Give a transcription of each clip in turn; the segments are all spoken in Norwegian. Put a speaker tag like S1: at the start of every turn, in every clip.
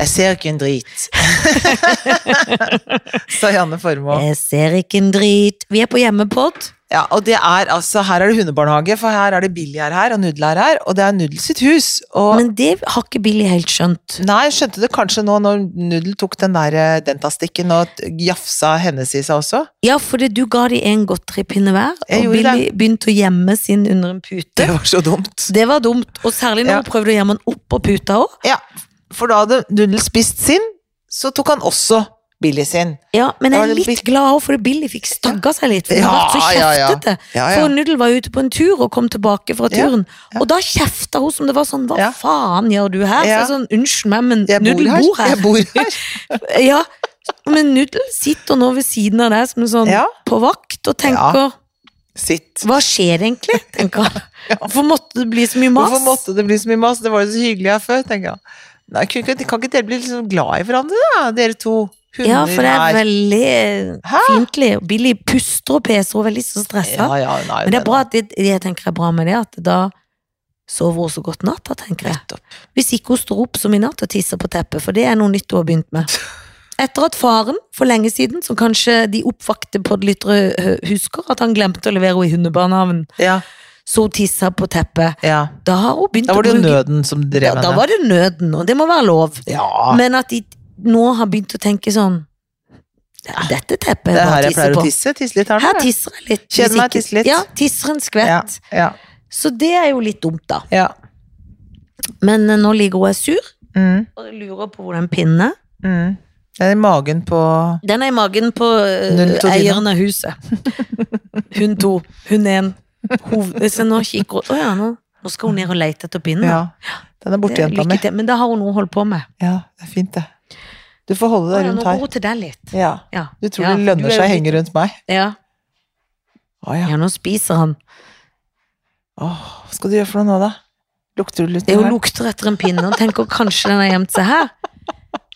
S1: Jeg ser ikke en drit. Sa Janne Formoe.
S2: Jeg ser ikke en drit. Vi er på hjemmepod.
S1: Ja, og det er altså, her er det hundebarnehage, for her er det Billy er her, og Nudel er her, og det er Nudel sitt hus. Og
S2: Men det har ikke Billy helt skjønt.
S1: nei, jeg skjønte det kanskje nå når Nudel tok den der eh, dentastikken og t- jafsa hennes i seg også.
S2: Ja, fordi du ga de en godteripinne hver,
S1: Jeg
S2: og
S1: gjorde
S2: Billy begynte å gjemme sin under en pute.
S1: Det var så dumt.
S2: Det var dumt, og særlig når
S1: Ja.
S2: hun prøvde å gjemme den oppå puta òg.
S1: Ja, for da hadde Nudel spist sin, så tok han også Billy sin.
S2: Ja, men jeg
S1: Ja,
S2: er
S1: det
S2: litt
S1: blir-
S2: glad òg, fordi Billy fikk stagga seg litt. For
S1: Ja,
S2: hun var så
S1: ja, ja.
S2: kjeftete.
S1: Ja, ja.
S2: For Nudel var ute på en tur og kom tilbake fra
S1: Ja,
S2: turen,
S1: ja.
S2: og da kjefta hun som det var sånn Hva
S1: Ja.
S2: faen gjør du her? Så
S1: Ja.
S2: jeg sånn, Unnskyld meg, men
S1: Jeg bor
S2: Nudel
S1: her.
S2: bor her.
S1: Jeg bor her.
S2: Ja, men Nudel sitter nå ved siden av deg som en sånn
S1: Ja.
S2: på vakt og tenker
S1: Sitt.
S2: Hva skjer egentlig? tenker han. Hvorfor måtte det bli så mye mas?
S1: Hvorfor måtte det bli så mye mas? Det var jo så hyggelig her før, tenker jeg. Nei, kan, ikke- kan ikke dere bli liksom glad i hverandre, da? Dere to hunder
S2: ja, for det er veldig
S1: Hæ?
S2: fiendtlig. og Billy puster og peser og er veldig så stressa.
S1: ja, ja, nei,
S2: Men det
S1: den-
S2: er bra at det, det jeg tenker er bra med det, at da sover hun så godt natta, tenker jeg.
S1: Nettopp.
S2: Hvis ikke hun står opp som i natt og tisser på teppet, for det er noe nytt hun har begynt med. Etter at faren for lenge siden, som kanskje de oppvakte podlyttere husker, at han glemte å levere henne i hundebarnehagen,
S1: Ja,
S2: så hun tissa på teppet.
S1: ja.
S2: Da har hun begynt
S1: Da var
S2: å
S1: det jo
S2: bruke
S1: nøden som drev
S2: Da, da
S1: henne.
S2: var det nøden, og det må være lov.
S1: Ja,
S2: Men at de nå har begynt å tenke sånn Dette teppet
S1: det
S2: er
S1: er her
S2: bare å
S1: jeg
S2: tisse
S1: pleier å
S2: på.
S1: tisse. Tisse litt her nå.
S2: Her
S1: jeg.
S2: tisser jeg litt.
S1: Kjeder
S2: hvis
S1: meg,
S2: ikke-
S1: tisser litt.
S2: Ja, tisser en skvett.
S1: Ja, ja,
S2: Så det er jo litt dumt, da.
S1: ja.
S2: Men eh, nå ligger hun og er sur,
S1: Mm,
S2: og lurer på hvor den pinnen er.
S1: mm. Det er i magen på
S2: Den er i magen på eh,
S1: Null to Tina.
S2: eieren av huset. Hun to, hun én. Hov... Så nå kikker hun Å ja, nå, nå skal hun ned og lete etter pinnen. da.
S1: Ja. Den er borte,
S2: Mm. Det er
S1: jenta
S2: lykke
S1: mi.
S2: til. Men det har hun noe å holde på med.
S1: Ja, det er fint, det. Du får holde
S2: Å
S1: deg
S2: ja,
S1: rundt
S2: nå går
S1: her.
S2: hun til deg litt.
S1: Ja.
S2: Ja.
S1: Du tror
S2: ja.
S1: det
S2: du
S1: lønner
S2: er jo
S1: seg å
S2: litt-
S1: henge rundt meg?
S2: Ja.
S1: Å ja.
S2: ja, nå spiser han.
S1: Åh, hva skal du gjøre for noe nå, da? Lukter du litt?
S2: Det er jo
S1: her?
S2: lukter etter en pinne, og tenker kanskje den har gjemt seg her.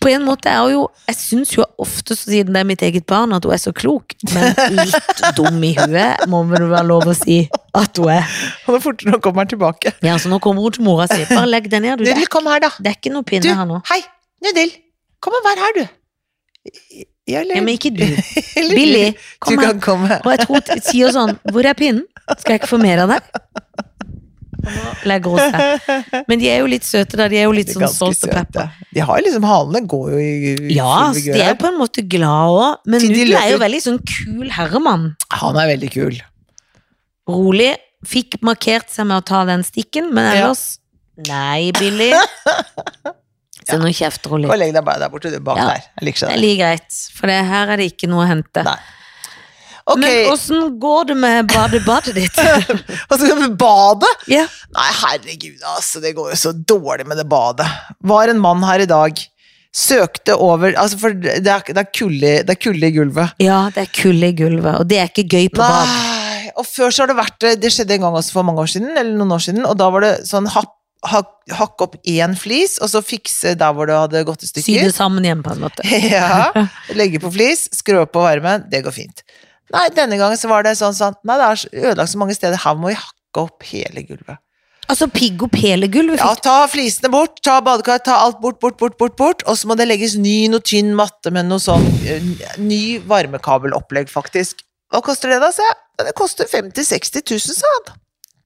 S2: På en måte er hun jo Jeg syns jo ofte, så siden det er mitt eget barn, at hun er så klok, men litt dum i huet må vel være lov å si at hun er.
S1: Og da fortere nok kommer han tilbake.
S2: Ja, så nå kommer hun til mora si. Bare legg deg ned, du. Det
S1: Nudel,
S2: er,
S1: kom her, da.
S2: det er ikke noe
S1: Du,
S2: pinne her nå.
S1: hei, Nudel. Kom og vær her, du. Ja, eller-
S2: Ja, men ikke du.
S1: eller-
S2: Billy,
S1: Du
S2: kom her.
S1: kan komme.
S2: Og jeg tror hun sier sånn Hvor er pinnen? Skal jeg ikke få mer av deg? Og nå legger hun seg. Men de er jo litt søte, da. De er jo litt
S1: De er
S2: sånn
S1: ganske
S2: salt og pepper.
S1: søte. De har jo liksom Halene går jo i i
S2: Ja,
S1: full
S2: så
S1: vigør
S2: de er jo
S1: her.
S2: på en måte glad òg, men
S1: Til de
S2: Nudel er
S1: løper
S2: jo
S1: ut.
S2: veldig sånn kul herremann.
S1: Han er veldig kul.
S2: Rolig. Fikk markert seg med å ta den stikken, men
S1: Ja.
S2: ellers Nei, Billy. Så nå kjefter hun
S1: Og
S2: litt.
S1: legg deg bare der borte, du, bak
S2: Ja.
S1: der. Jeg liker
S2: Det er
S1: ikke det.
S2: like greit, for det, her er det ikke noe å hente.
S1: Nei. Ok,
S2: Men
S1: og
S2: åssen går det med badebadet ditt?
S1: så skal vi bade?
S2: ja.
S1: Nei, herregud, altså, det går jo så dårlig med det badet. Var en mann her i dag, søkte over, altså, for det er, det er, kulde, det er kulde i gulvet.
S2: ja, det er kulde i gulvet, og det er ikke gøy på bad.
S1: Nei, og før så har det vært eh, det, det skjedde en gang også for mange år siden, eller noen år siden, og da var det sånn hak, hak, hakk opp én flis, og så fikse der hvor det hadde gått i
S2: Sy det
S1: stykker.
S2: sammen hjemme, på en måte.
S1: Ja, legge på flis, skru opp på varmen, det går fint. Nei, denne gangen så var det sånn sånn, nei, det er så- ødelagt så mange steder, her må vi hakke opp hele gulvet.
S2: Altså, pigg opp hele gulvet.
S1: Ja,
S2: Fikk.
S1: ta flisene bort, ta badekar, ta alt bort, bort, bort, bort, bort, og så må det legges ny, noe tynn matte med noe sånn, eh, ny varmekabelopplegg faktisk. Hva koster det da, sa jeg? «Ja, Det koster 50 60 000, sa han.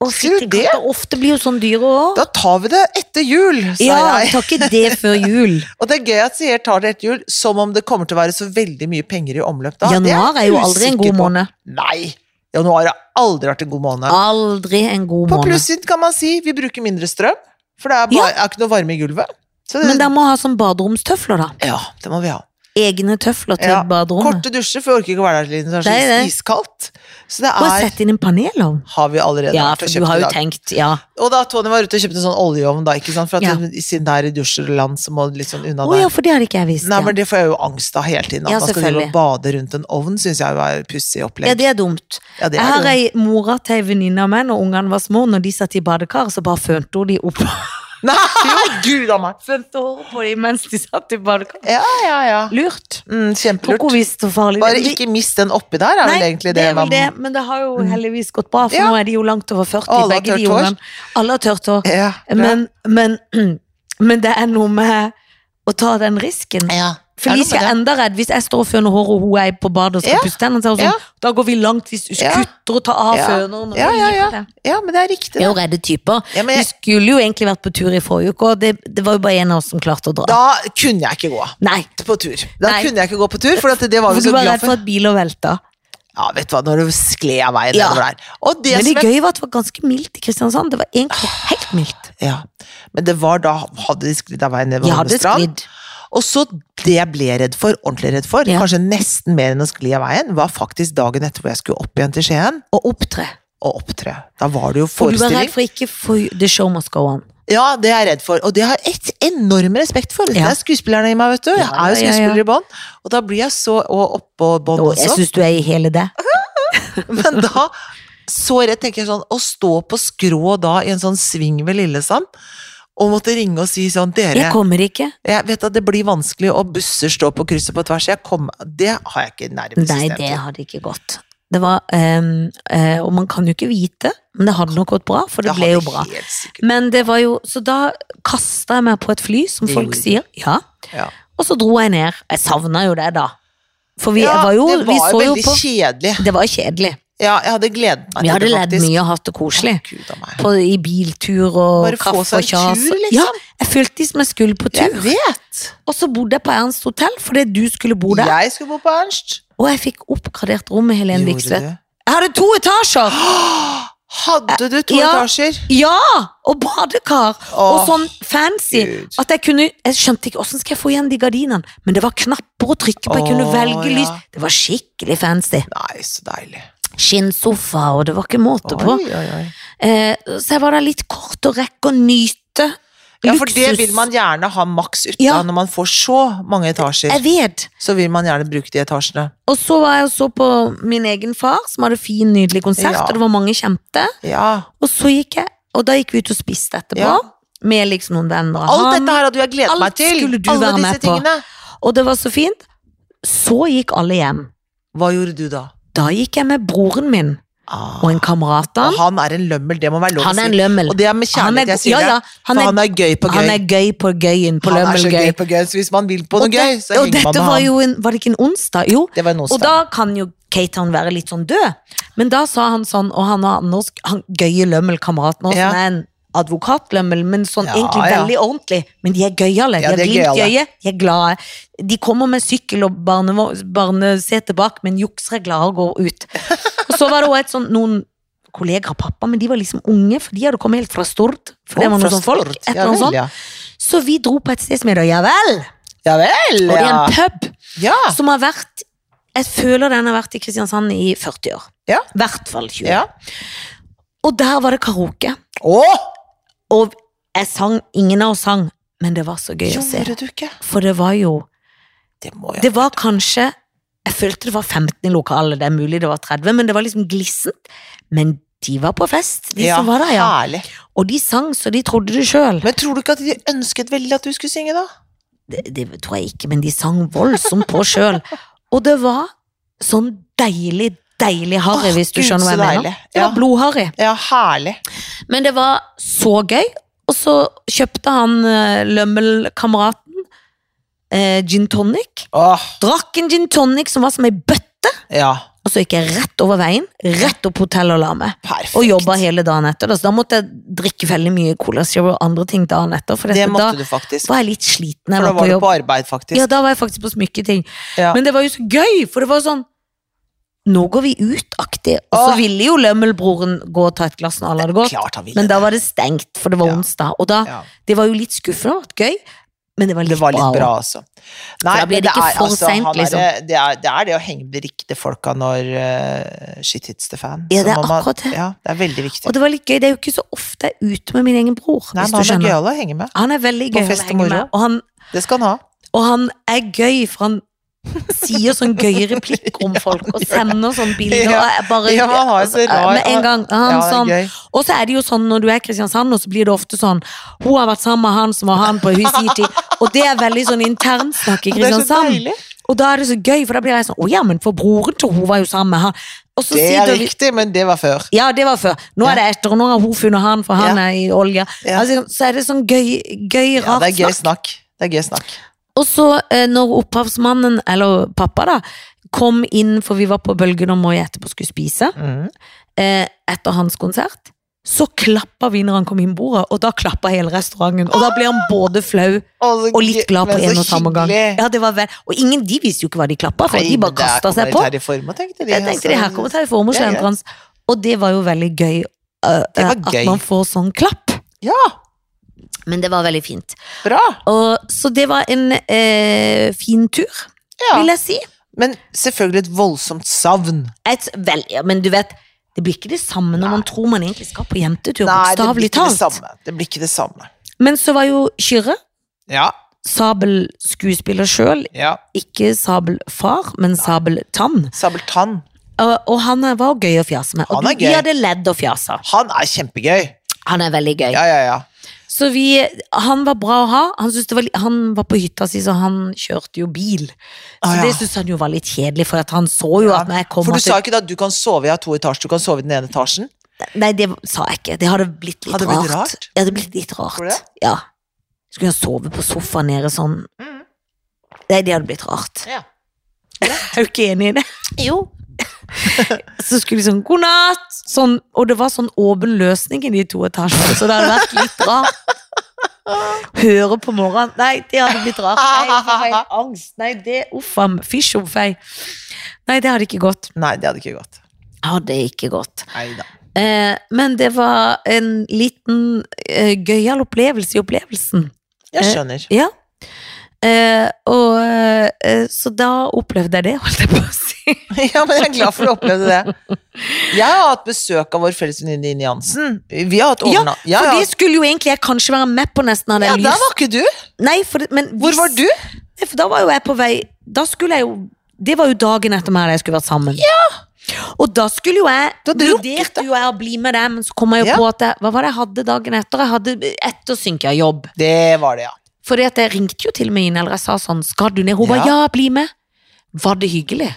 S2: Og
S1: sier du
S2: fytti katta, ofte blir jo sånn dyre òg.
S1: Da tar vi det etter jul, sa
S2: Ja,
S1: jeg.
S2: tar ikke det før jul.
S1: Og det er gøy at sier tar det etter jul, som om det kommer til å være så veldig mye penger i omløp da. Det
S2: Januar er jo
S1: jeg
S2: aldri en
S1: usikker
S2: god
S1: på.
S2: måned.
S1: Nei, januar har aldri vært en god måned.
S2: Aldri en god
S1: På
S2: måned.
S1: plussiden kan man si vi bruker mindre strøm, for det er, bare, er ikke noe varme i gulvet. Så det,
S2: Men dere må ha sånn baderomstøfler, da.
S1: ja, det må vi ha.
S2: Egne tøfler til
S1: Ja,
S2: baderommet.
S1: Korte dusjer, for jeg orker ikke å være der til det er så
S2: Det er det.
S1: iskaldt. Så det
S2: Bare
S1: er
S2: sett inn en panelovn.
S1: har vi allerede
S2: Ja,
S1: vært
S2: for
S1: og
S2: du
S1: kjøpt
S2: har
S1: i
S2: jo
S1: dag.
S2: tenkt, ja.
S1: Og da Tony var ute og kjøpte en sånn oljeovn, da, ikke sant? for at
S2: Ja.
S1: hun- siden det er i dusjerland, så må det litt sånn unna
S2: Å
S1: der.
S2: ja, for det hadde ikke jeg visst.
S1: Nei,
S2: Ja.
S1: men Det får jeg jo angst av hele tiden. At
S2: Ja,
S1: man skal drive
S2: selvfølgelig.
S1: og bade rundt en ovn, syns jeg jo er et pussig
S2: ja,
S1: opplegg.
S2: det er dumt.
S1: Ja, det
S2: Jeg
S1: er
S2: har
S1: det jo.
S2: ei mora til ei venninne av meg, når ungene var små, når de satt i badekar, så bare fønte hun de opp.
S1: Nei, gud a meg!
S2: Fønte håret på dem mens de satt i badekar.
S1: Ja, ja, ja.
S2: Lurt.
S1: Mm,
S2: Tror ikke
S1: kjempelurt.
S2: hun visste hvor farlig
S1: Bare
S2: Men de-
S1: ikke mist den oppi der, er vel egentlig det.
S2: er
S1: man-
S2: vel
S1: Mm.
S2: det, men det har jo heldigvis gått bra, for
S1: Ja.
S2: nå er de jo langt over 40,
S1: Alle har
S2: begge de
S1: tørt hår.
S2: ungene. Alle har tørt hår.
S1: Ja, bra.
S2: Men, men, men det er noe med å ta den risken.
S1: Ja.
S2: Felicia er enda redd hvis jeg står og føner håret og hun er på badet og skal
S1: Ja.
S2: pusse tennene. Så er hun sånn, Da går vi langt hvis du
S1: Ja.
S2: kutter og tar av
S1: Ja.
S2: føneren. og
S1: Ja, ja,
S2: liker det.
S1: ja, men det er riktig.
S2: Vi er
S1: det.
S2: jo redde typer.
S1: Ja, men jeg-
S2: Vi skulle jo egentlig vært på tur i forrige uke, og det, det var jo bare en av oss som klarte å dra.
S1: Da kunne jeg ikke gå
S2: Nei,
S1: på tur. Da
S2: Nei.
S1: kunne jeg ikke gå på tur, for at det var
S2: for
S1: vi
S2: du
S1: så
S2: var
S1: glad
S2: redd for
S1: for.
S2: at biler velta.
S1: Ja, vet du hva, når du skled av veien
S2: Ja.
S1: nedover der. Og det Ah.
S2: Men det
S1: som jeg
S2: gøye var at det var ganske mildt i Kristiansand. Det var egentlig helt mildt.
S1: Ja, men det var da hadde de sklidd av veien nedover
S2: Jeg hadde
S1: Holmestrand.
S2: sklidd.
S1: Og så det jeg ble redd for, ordentlig redd for,
S2: Ja.
S1: kanskje nesten mer enn å skli av veien, var faktisk dagen etter hvor jeg skulle opp igjen til Skien
S2: Og opptre.
S1: og opptre. Da var det jo
S2: For du var
S1: forestilling.
S2: redd for ikke for The show must go on.
S1: Ja, det er jeg redd for, og det har jeg et enorm respekt for. Det
S2: Ja.
S1: er skuespillerne i meg, vet du. Jeg
S2: Ja,
S1: er jo
S2: ja, ja,
S1: skuespiller
S2: ja.
S1: i bånd, og da blir jeg så Og oppå bånd
S2: Og jeg
S1: også.
S2: syns du er i hele det.
S1: Men da så redd tenker jeg sånn, å stå på skrå da i en sånn sving ved Lillesand, og måtte ringe og si sånn Dere,
S2: Jeg kommer ikke.
S1: Jeg vet at det blir vanskelig, og busser står på kryss og på tvers. Jeg kom, det har jeg ikke nærmest
S2: Nei, det hadde ikke gått. Det var, ehm, eh, og man kan jo ikke vite, men det hadde nok gått bra, for det ble jo bra.
S1: Helt sikkert.
S2: Men det var jo, så da kasta jeg meg på et fly, som
S1: Det
S2: folk
S1: gjorde
S2: sier. Ja.
S1: Ja.
S2: Og så dro jeg ned. Jeg savna jo det, da. For vi
S1: Ja,
S2: var jo,
S1: det
S2: vi
S1: var
S2: så jo
S1: veldig
S2: på
S1: kjedelig.
S2: Det var kjedelig.
S1: Ja, jeg hadde gledet meg
S2: Vi hadde ledd
S1: faktisk.
S2: mye og hatt det koselig.
S1: Å, Gud av meg.
S2: På, I biltur og
S1: Bare få
S2: kaffe og
S1: seg en
S2: kjas.
S1: tur, liksom.
S2: Ja, jeg følte som jeg skulle på
S1: Jeg
S2: tur.
S1: vet!
S2: Og så bodde jeg på Ernst hotell fordi du skulle bo der.
S1: Jeg skulle bo på Ernst.
S2: Og jeg fikk oppgradert rommet, Helen
S1: Gjorde
S2: Vikstvedt.
S1: du?
S2: Jeg hadde to etasjer!
S1: Åh, Hadde du to
S2: Ja.
S1: etasjer?
S2: Ja! Og badekar. og
S1: Åh,
S2: sånn fancy.
S1: Gud.
S2: At jeg kunne Jeg skjønte ikke åssen skal jeg få igjen de gardinene. Men det var knapper å trykke på. Jeg kunne
S1: Åh,
S2: velge lys.
S1: ja.
S2: Det var skikkelig fancy.
S1: Nei, så deilig.
S2: Skinnsofa, og det var ikke måte
S1: Oi,
S2: på.
S1: oi, oi.
S2: Eh, så jeg var der litt kort og rekke å nyte
S1: Ja, for det vil man gjerne ha maks ut av
S2: Ja.
S1: når man får så mange etasjer.
S2: Jeg vet.
S1: Så vil man gjerne bruke de etasjene.
S2: Og så var jeg og så på min egen far, som hadde fin, nydelig konsert,
S1: Ja.
S2: og det var mange kjente.
S1: Ja.
S2: Og så gikk jeg, og da gikk vi ut og spiste etterpå.
S1: Ja.
S2: Med liksom noen venner av
S1: Alt
S2: han.
S1: dette her hadde jeg gledet
S2: Alt
S1: meg til.
S2: skulle du
S1: Alle
S2: være
S1: disse
S2: med på.
S1: tingene.
S2: Og det var så fint. Så gikk alle hjem.
S1: Hva gjorde du da?
S2: Da gikk jeg med broren min
S1: Ah.
S2: og en kamerat av
S1: Og
S2: han.
S1: han er en lømmel, det må være lov
S2: Han er en
S1: å si.
S2: lømmel.
S1: Ah, Og det er med
S2: Han er,
S1: kjærlighet jeg sier
S2: ja, ja,
S1: det.
S2: han
S1: For
S2: er,
S1: han er gøy på gøy.
S2: han er gøy på gøyen, på
S1: Han er så
S2: lømmelgøy.
S1: gøy på gøy, så hvis man vil på
S2: Og
S1: noe
S2: det-
S1: gøy, så
S2: og
S1: henger man
S2: dette
S1: med
S2: var
S1: han.
S2: jo en, var det ikke en onsdag? Jo,
S1: Det var en
S2: Og
S1: onsdag.
S2: da kan jo Katown være litt sånn død. Men da sa han sånn, og han og Anders, han gøye lømmelkameraten også,
S1: Ja.
S2: som er en advokatlømmel, men sånn
S1: Ja,
S2: egentlig
S1: ja.
S2: veldig ordentlig. Men de er gøyale.
S1: Ja,
S2: de
S1: de
S2: er
S1: er
S2: glint
S1: gøyale.
S2: gøye. De er glade. De kommer med sykkel og barnevogn- barnesete bak, men jukser er glade og går ut. Og så var det også et sånn, noen kolleger av pappa, men de var liksom unge, for de hadde kommet helt fra Stord. For det
S1: Å,
S2: var
S1: fra
S2: noe sånn folk.
S1: Stord.
S2: Et
S1: Ja
S2: eller annet
S1: vel,
S2: sånt.
S1: ja.
S2: Så vi dro på et sted som heter Ja vel!
S1: Ja vel,
S2: Og det er
S1: ja.
S2: en pub
S1: Ja.
S2: som har vært Jeg føler den har vært i Kristiansand i 40 år.
S1: Ja.
S2: I hvert fall 20.
S1: ja.
S2: Og der var det karaoke.
S1: Å!
S2: Og jeg sang, ingen av oss sang, men det var så gøy å se.
S1: Gjorde du ikke?
S2: For det var jo
S1: Det må jeg.
S2: Det var kanskje Jeg følte det var 15 i lokalet, det er mulig det var 30, men det var liksom glissent. Men de var på fest, de som var der, ja.
S1: Herlig.
S2: Og de sang så de trodde det sjøl.
S1: Men tror du ikke at de ønsket veldig at du skulle synge, da?
S2: Det, det tror jeg ikke, men de sang voldsomt på sjøl. Og det var sånn deilig, deilig harry,
S1: Åh,
S2: hvis du
S1: Gud,
S2: skjønner hva
S1: så
S2: jeg mener.
S1: deilig.
S2: Det
S1: Ja.
S2: var blodharry.
S1: Ja, herlig.
S2: Men det var så gøy. Og så kjøpte han eh, lømmelkameraten eh, gin tonic.
S1: Åh,
S2: Drakk en gin tonic som var som ei bøtte.
S1: ja.
S2: Og så gikk jeg rett over veien, rett opp på hotellet og la meg.
S1: Perfekt.
S2: Og jobba hele dagen etter. da. Så da måtte jeg drikke veldig mye Cola Zero og andre ting dagen etter. For
S1: Det
S2: dette,
S1: måtte
S2: da
S1: du faktisk.
S2: var jeg litt sliten. Jeg
S1: For da
S2: var på
S1: var du
S2: jobb.
S1: på arbeid, faktisk.
S2: Ja, da var jeg faktisk på smykketing.
S1: Ja.
S2: Men det var jo så gøy, for det var sånn Nå går vi ut-aktig. Og så
S1: Åh.
S2: ville jo lømmelbroren gå og ta et glass når alle hadde gått.
S1: Klart han ville
S2: Men da var det stengt, for det var
S1: Ja.
S2: onsdag. Og da,
S1: Ja.
S2: Det var jo litt skuffende, det har vært gøy, men det var litt,
S1: Det var litt bra,
S2: bra.
S1: altså. Nei,
S2: da blir
S1: men
S2: det ikke for
S1: altså, han
S2: sent,
S1: er-
S2: liksom.
S1: det, er, det er det å henge med de riktige folka når eh, shit hits the fan.
S2: Ja,
S1: Så
S2: det er
S1: må man-
S2: akkurat det.
S1: Ja, det er veldig viktig.
S2: Og det var litt gøy, det er jo ikke så ofte jeg er ute med min egen bror,
S1: Nei,
S2: hvis
S1: men han er
S2: du skjønner.
S1: gøyal å henge med.
S2: Han er veldig
S1: På
S2: gøy å
S1: fest og
S2: henge med,
S1: moro.
S2: og han,
S1: Det skal han ha.
S2: og han er gøy, for han sier sånn gøye replikker om folk, og sender sånne bilder,
S1: Ja.
S2: og jeg bare
S1: Ja, han har jo så rar-
S2: Med en gang, han
S1: Ja, det er
S2: sånn
S1: gøy.
S2: Og så er det jo sånn når du er i Kristiansand, og så blir det ofte sånn Hun har vært sammen med han som var han på Husiti. Og det er veldig sånn internsnakk i
S1: Det er så
S2: Kristiansand.
S1: deilig.
S2: Og da er det så gøy, for da blir jeg sånn Å ja, men for broren til hun var jo sammen med han. Og så
S1: Det er
S2: sitter vi
S1: riktig, men det var før.
S2: ja, det var før. Nå
S1: Ja.
S2: er det etter, og nå har hun funnet han, for han
S1: Ja.
S2: er i olje.
S1: Ja.
S2: Altså, så er det sånn gøy, gøy
S1: Ja,
S2: rart
S1: det er gøy
S2: snakk.
S1: snakk. Det er gøy snakk.
S2: Og så eh, når opphavsmannen, eller pappa da, kom inn, for vi var på bølgen om Moi etterpå skulle spise,
S1: Mm.
S2: eh, etter hans konsert, så klappa vi når han kom inn bordet, og da klappa hele restauranten. Og da ble han både flau
S1: så
S2: og litt glad på
S1: men så
S2: en og samme gang.
S1: hyggelig.
S2: Ja, det var vel. Og ingen, de visste jo ikke hva de klappa for,
S1: Nei,
S2: de
S1: men
S2: bare
S1: der
S2: kasta
S1: kommer
S2: seg på.
S1: det her i form, tenkte de. altså.
S2: Jeg tenkte det her kommer til å være formålstjeneren hans. Og det var jo veldig gøy, eh,
S1: Det var
S2: at
S1: gøy.
S2: man får sånn klapp.
S1: Ja,
S2: Men det var veldig fint.
S1: bra!
S2: Og, så det var en eh, fin tur,
S1: Ja.
S2: vil jeg si.
S1: Men selvfølgelig et voldsomt savn.
S2: Et, vel, ja, men du vet, det blir ikke det samme når man tror man egentlig skal på
S1: det
S2: jentetur,
S1: blir
S2: bokstavelig
S1: ikke det
S2: talt.
S1: samme. Det blir ikke det samme.
S2: Men så var jo Kyrre,
S1: Ja,
S2: sabelskuespiller sjøl,
S1: ja.
S2: ikke sabelfar, men sabeltann.
S1: Sabeltann.
S2: Og, og han var gøy å fjase med. Og
S1: Han er
S2: du- vi
S1: gøy.
S2: hadde ledd og fjasa.
S1: Han er kjempegøy.
S2: Han er veldig gøy.
S1: Ja, ja, ja.
S2: Så vi, han var bra å ha. Han, syntes det var, li- han var på hytta si, så han kjørte jo bil. Så
S1: Ah, ja.
S2: det syntes han jo var litt kjedelig, for at han så jo at når jeg kom
S1: For du
S2: at
S1: sa ikke da at du kan sove i to etasjer, du kan sove i den ene etasjen?
S2: Nei, det sa jeg ikke. Det hadde blitt litt
S1: Hadde det blitt
S2: rart.
S1: rart?
S2: Ja, det hadde blitt litt rart.
S1: Tror du det?
S2: Ja. Skulle han sove på sofaen nede sånn
S1: Mm.
S2: Nei, det hadde blitt rart.
S1: Ja.
S2: Jeg er jo ikke enig i det. Jo. så skulle vi sånn god natt, sånn, og det var sånn åpen løsning i de to etasjene, så det hadde vært litt rart. Høre på morgenen Nei, det hadde blitt rart. Nei, jeg fikk helt angst. Nei, det Uff a meg. Fysj og fei. Nei, det hadde ikke gått.
S1: Nei, det hadde ikke gått.
S2: Hadde ikke gått.
S1: Neida.
S2: Eh, men det var en liten eh, gøyal opplevelse i opplevelsen.
S1: Jeg skjønner.
S2: Ja. Eh, og eh, Så da opplevde jeg det, holdt jeg på å si.
S1: Ja, men jeg er glad for å oppleve det. Jeg har hatt besøk av vår felles venninne Ine Jansen. Vi har hatt
S2: Ja,
S1: overnatt... Ja,
S2: For
S1: ja.
S2: det skulle jo egentlig jeg kanskje være med på nesten av det
S1: ja,
S2: lys.
S1: der var ikke du.
S2: Nei, for, det- men
S1: Hvor
S2: hvis-
S1: var du?
S2: Nei, For da var jo jeg på vei Da skulle jeg jo Det var jo dagen etter meg da jeg skulle vært sammen. Ja og da skulle jo jeg
S1: Du hadde drukket,
S2: Vurderte jo jeg å bli med deg, men så kom jeg jo
S1: Ja.
S2: på at jeg, Hva var det jeg hadde dagen etter? Jeg hadde ettersynka jobb.
S1: Det var det, ja.
S2: Fordi at jeg ringte jo til og med inn, eller jeg sa sånn, skal du ned? Hun bare, ja, bli med. Var det hyggelig?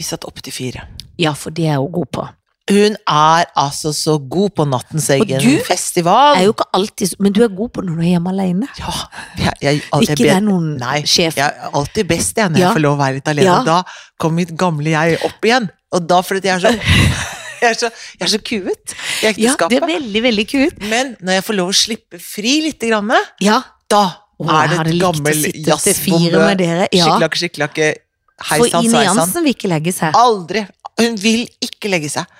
S1: Vi satt opp til fire.
S2: Ja, for det er jeg jo god på.
S1: Hun er altså så god på nattens egen
S2: du
S1: festival.
S2: Jeg er jo ikke alltid, så- men du er god på når du er hjemme alene.
S1: Ja, jeg, jeg, jeg,
S2: Ikke det er noen
S1: Nei,
S2: sjef.
S1: jeg er alltid best jeg, når
S2: Ja.
S1: jeg får lov å være litt alene.
S2: Ja.
S1: Da kommer mitt gamle jeg opp igjen. Og da fordi jeg er så Jeg er så, jeg er så kuet i
S2: Ja, du er
S1: ekteskapet.
S2: veldig, veldig kult.
S1: Men når jeg får lov å slippe fri litt, grann,
S2: Ja.
S1: da
S2: Åh,
S1: er
S2: jeg hadde
S1: det et
S2: likt å
S1: gammel
S2: sitte til fire med
S1: jazzbombe.
S2: dere. Ja,
S1: Skikkelakke, skikkelakke,
S2: for
S1: heisan,
S2: Ine
S1: sveisan.
S2: Jansen vil ikke legge seg.
S1: Aldri. Hun vil ikke legge seg.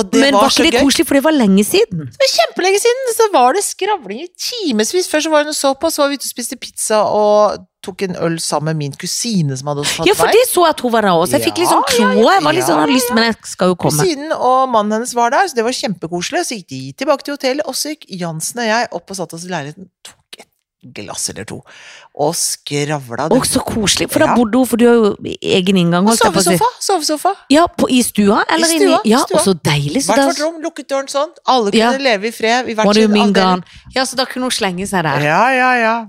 S1: Og det
S2: Men var
S1: var så
S2: ikke det
S1: gøy.
S2: koselig, for det var lenge siden.
S1: Det var kjempelenge siden, så var det skravling i timevis. Før så var hun og så på, så var vi ute og spiste pizza og tok en øl sammen med min kusine som hadde også
S2: Ja,
S1: tatt
S2: for det så jeg at hun var der også. Jeg
S1: Ja,
S2: fikk litt sånn kloa, jeg var litt
S1: ja,
S2: sånn, jeg hadde lyst, men jeg skal jo komme.
S1: Kusinen og mannen hennes var der, så det var kjempekoselig. Så gikk de tilbake til hotellet, og så gikk Jansen og jeg opp og satt oss i leiligheten, tok et glass eller to, og skravla.
S2: Og så koselig, for da
S1: Ja.
S2: bodde hun, for du har jo egen inngang. holdt jeg på å si.
S1: Sovesofa, sovesofa.
S2: Ja, på, i stua? Eller
S1: I
S2: inni-
S1: stua,
S2: Ja,
S1: stua.
S2: og så deilig. Så
S1: Hvert
S2: da,
S1: vårt rom, lukket døren sånn. Alle kunne
S2: Ja.
S1: leve i fred i
S2: var
S1: hvert
S2: det
S1: sin
S2: jo
S1: avdeling.
S2: min garn. Ja, så da kunne hun slenge seg der.
S1: Ja, ja, ja.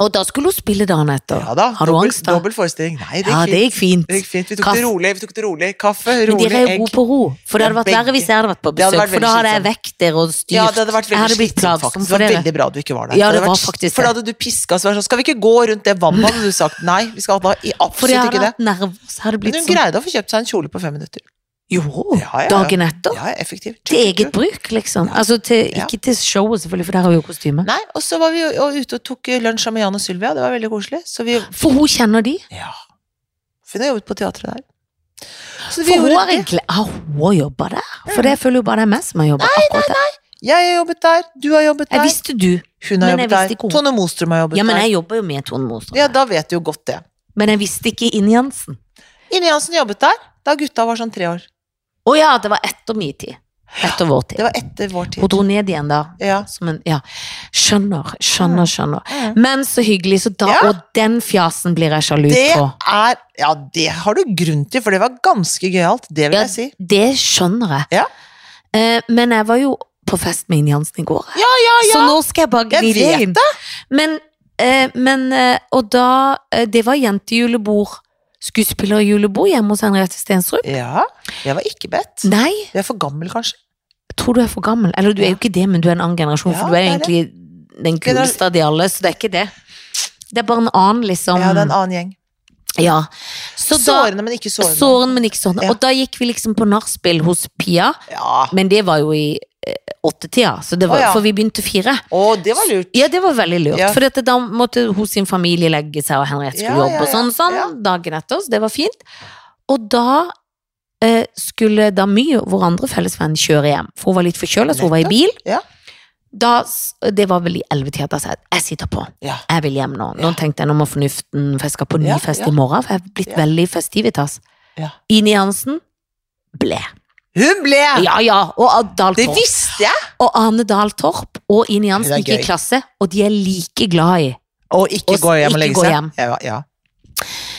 S2: Og da skulle hun spille dagen etter.
S1: Ja da.
S2: Har du
S1: dobbel-
S2: angst, da?
S1: Dobbel forestilling. Nei, det
S2: Ja, det
S1: gikk fint.
S2: gikk fint.
S1: Det gikk fint. Vi tok
S2: Kaff-
S1: det rolig. vi tok det rolig. Kaffe,
S2: Men
S1: rolig,
S2: dere er jo gode
S1: egg.
S2: på ro. For det hadde vært
S1: Ja,
S2: verre hvis jeg hadde vært på
S1: Det hadde
S2: besøk,
S1: vært
S2: for da hadde jeg
S1: veldig
S2: vekt dere og styrt.
S1: Ja, det hadde vært
S2: jeg hadde
S1: veldig
S2: blidt
S1: slitsomt, faktisk.
S2: plagsom
S1: Det var
S2: for dere.
S1: veldig bra at du ikke var der.
S2: Ja,
S1: hadde
S2: det var
S1: vært-
S2: faktisk
S1: For da
S2: det.
S1: hadde du piska så var det sånn Skal vi ikke gå rundt det vannet? hadde du sagt nei. Vi skal da i
S2: For jeg
S1: absolutt
S2: hadde
S1: ikke det.
S2: hatt nerver, så hadde det
S1: Men
S2: blitt
S1: hun
S2: sånn.
S1: greide å få kjøpt seg en kjole på fem minutter.
S2: Jo,
S1: Ja, ja, ja.
S2: dagen etter.
S1: Ja, effektiv.
S2: Til eget bruk, liksom. Altså til,
S1: Ja.
S2: ikke til showet, selvfølgelig, for der har vi jo kostyme.
S1: Nei, og så var vi jo og ute og tok lunsj med Jan og Sylvia. Det var veldig koselig. Så vi
S2: For hun kjenner de.
S1: Ja. For hun har jobbet på teatret der. Så
S2: For hun
S1: gjorde
S2: har
S1: det.
S2: egentlig Har hun jobba der? For det føler jo bare det er meg som har jobba akkurat der.
S1: Jeg har jobbet der, du har jobbet
S2: Jeg
S1: der,
S2: visste du.
S1: hun har
S2: men
S1: jobbet
S2: jeg visste
S1: der,
S2: ikke hun.
S1: Tone Mostrøm har jobbet
S2: Ja, men
S1: der.
S2: jeg jobber jo med Tone Mostrøm.
S1: Ja, da vet du jo godt det.
S2: Men jeg visste ikke inn Jansen.
S1: Ine Jansen jobbet der da gutta var sånn tre år.
S2: Å ja, det var etter min tid. Etter vår
S1: Det
S2: tid.
S1: var etter vår tid.
S2: Hun dro ned igjen da.
S1: Ja.
S2: Som en, ja. Skjønner, skjønner, skjønner.
S1: Mm.
S2: Men så hyggelig, så da,
S1: Ja.
S2: og den fjasen blir jeg sjalu
S1: Det
S2: på.
S1: er Ja, det har du grunn til, for det var ganske gøyalt. Det vil
S2: Ja,
S1: jeg si.
S2: Det skjønner jeg.
S1: Ja.
S2: Eh, men jeg var jo på fest med Ine Jansen i går.
S1: Ja, ja, ja!
S2: Så nå skal jeg bare gni
S1: Jeg
S2: det
S1: vet
S2: inn. Men, eh, men eh, Og da eh, Det var jentejulebord. Skuespillerjulebord hjemme hos Henriette Stensrud.
S1: Ja, jeg var ikke bedt.
S2: Nei,
S1: Jeg er for gammel, kanskje.
S2: tror du er for gammel. Eller du er jo ikke det, men du er en annen generasjon,
S1: Ja,
S2: for du er
S1: det
S2: jo
S1: er
S2: egentlig den kuleste av de alle, så det er ikke det. Det er bare en annen, liksom.
S1: Ja, det er en annen gjeng.
S2: Ja. Så da,
S1: sårende, men ikke sårende.
S2: sårende, men ikke sårende.
S1: Ja.
S2: Og da gikk vi liksom på nachspiel hos Pia,
S1: Ja.
S2: men det var jo i eh, åttetida, så det var,
S1: Å, ja.
S2: for vi begynte fire.
S1: Å, det var lurt.
S2: Ja, det var veldig lurt,
S1: Ja.
S2: for da måtte hun sin familie legge seg, og Henriette skulle
S1: Ja, ja,
S2: jobbe og sånn, sånn,
S1: ja.
S2: dagen etter, så det var fint. Og da eh, skulle da My, vår andre fellesvenn, kjøre hjem, for hun var litt forkjøla, så hun var i bil.
S1: Ja.
S2: Da, s- det var vel i ellevetida, da sa jeg jeg sitter på,
S1: Ja.
S2: jeg vil hjem nå. Nå
S1: Ja.
S2: tenkte jeg nå må fornuften, for jeg skal på ny
S1: Ja,
S2: fest
S1: ja.
S2: i morgen, for jeg er blitt
S1: Ja.
S2: veldig festivitas.
S1: Ja.
S2: Ine Jansen ble.
S1: Hun ble!
S2: Ja, ja, og Dahl
S1: Det
S2: Torp.
S1: visste jeg!
S2: Og Arne Dahl Torp og Ine
S1: Det
S2: Jansen
S1: er
S2: gikk i
S1: gøy.
S2: klasse, og de er like glad i.
S1: Og ikke
S2: Og
S1: gå hjem og legge
S2: ikke gå
S1: seg.
S2: hjem.
S1: Ja, ja.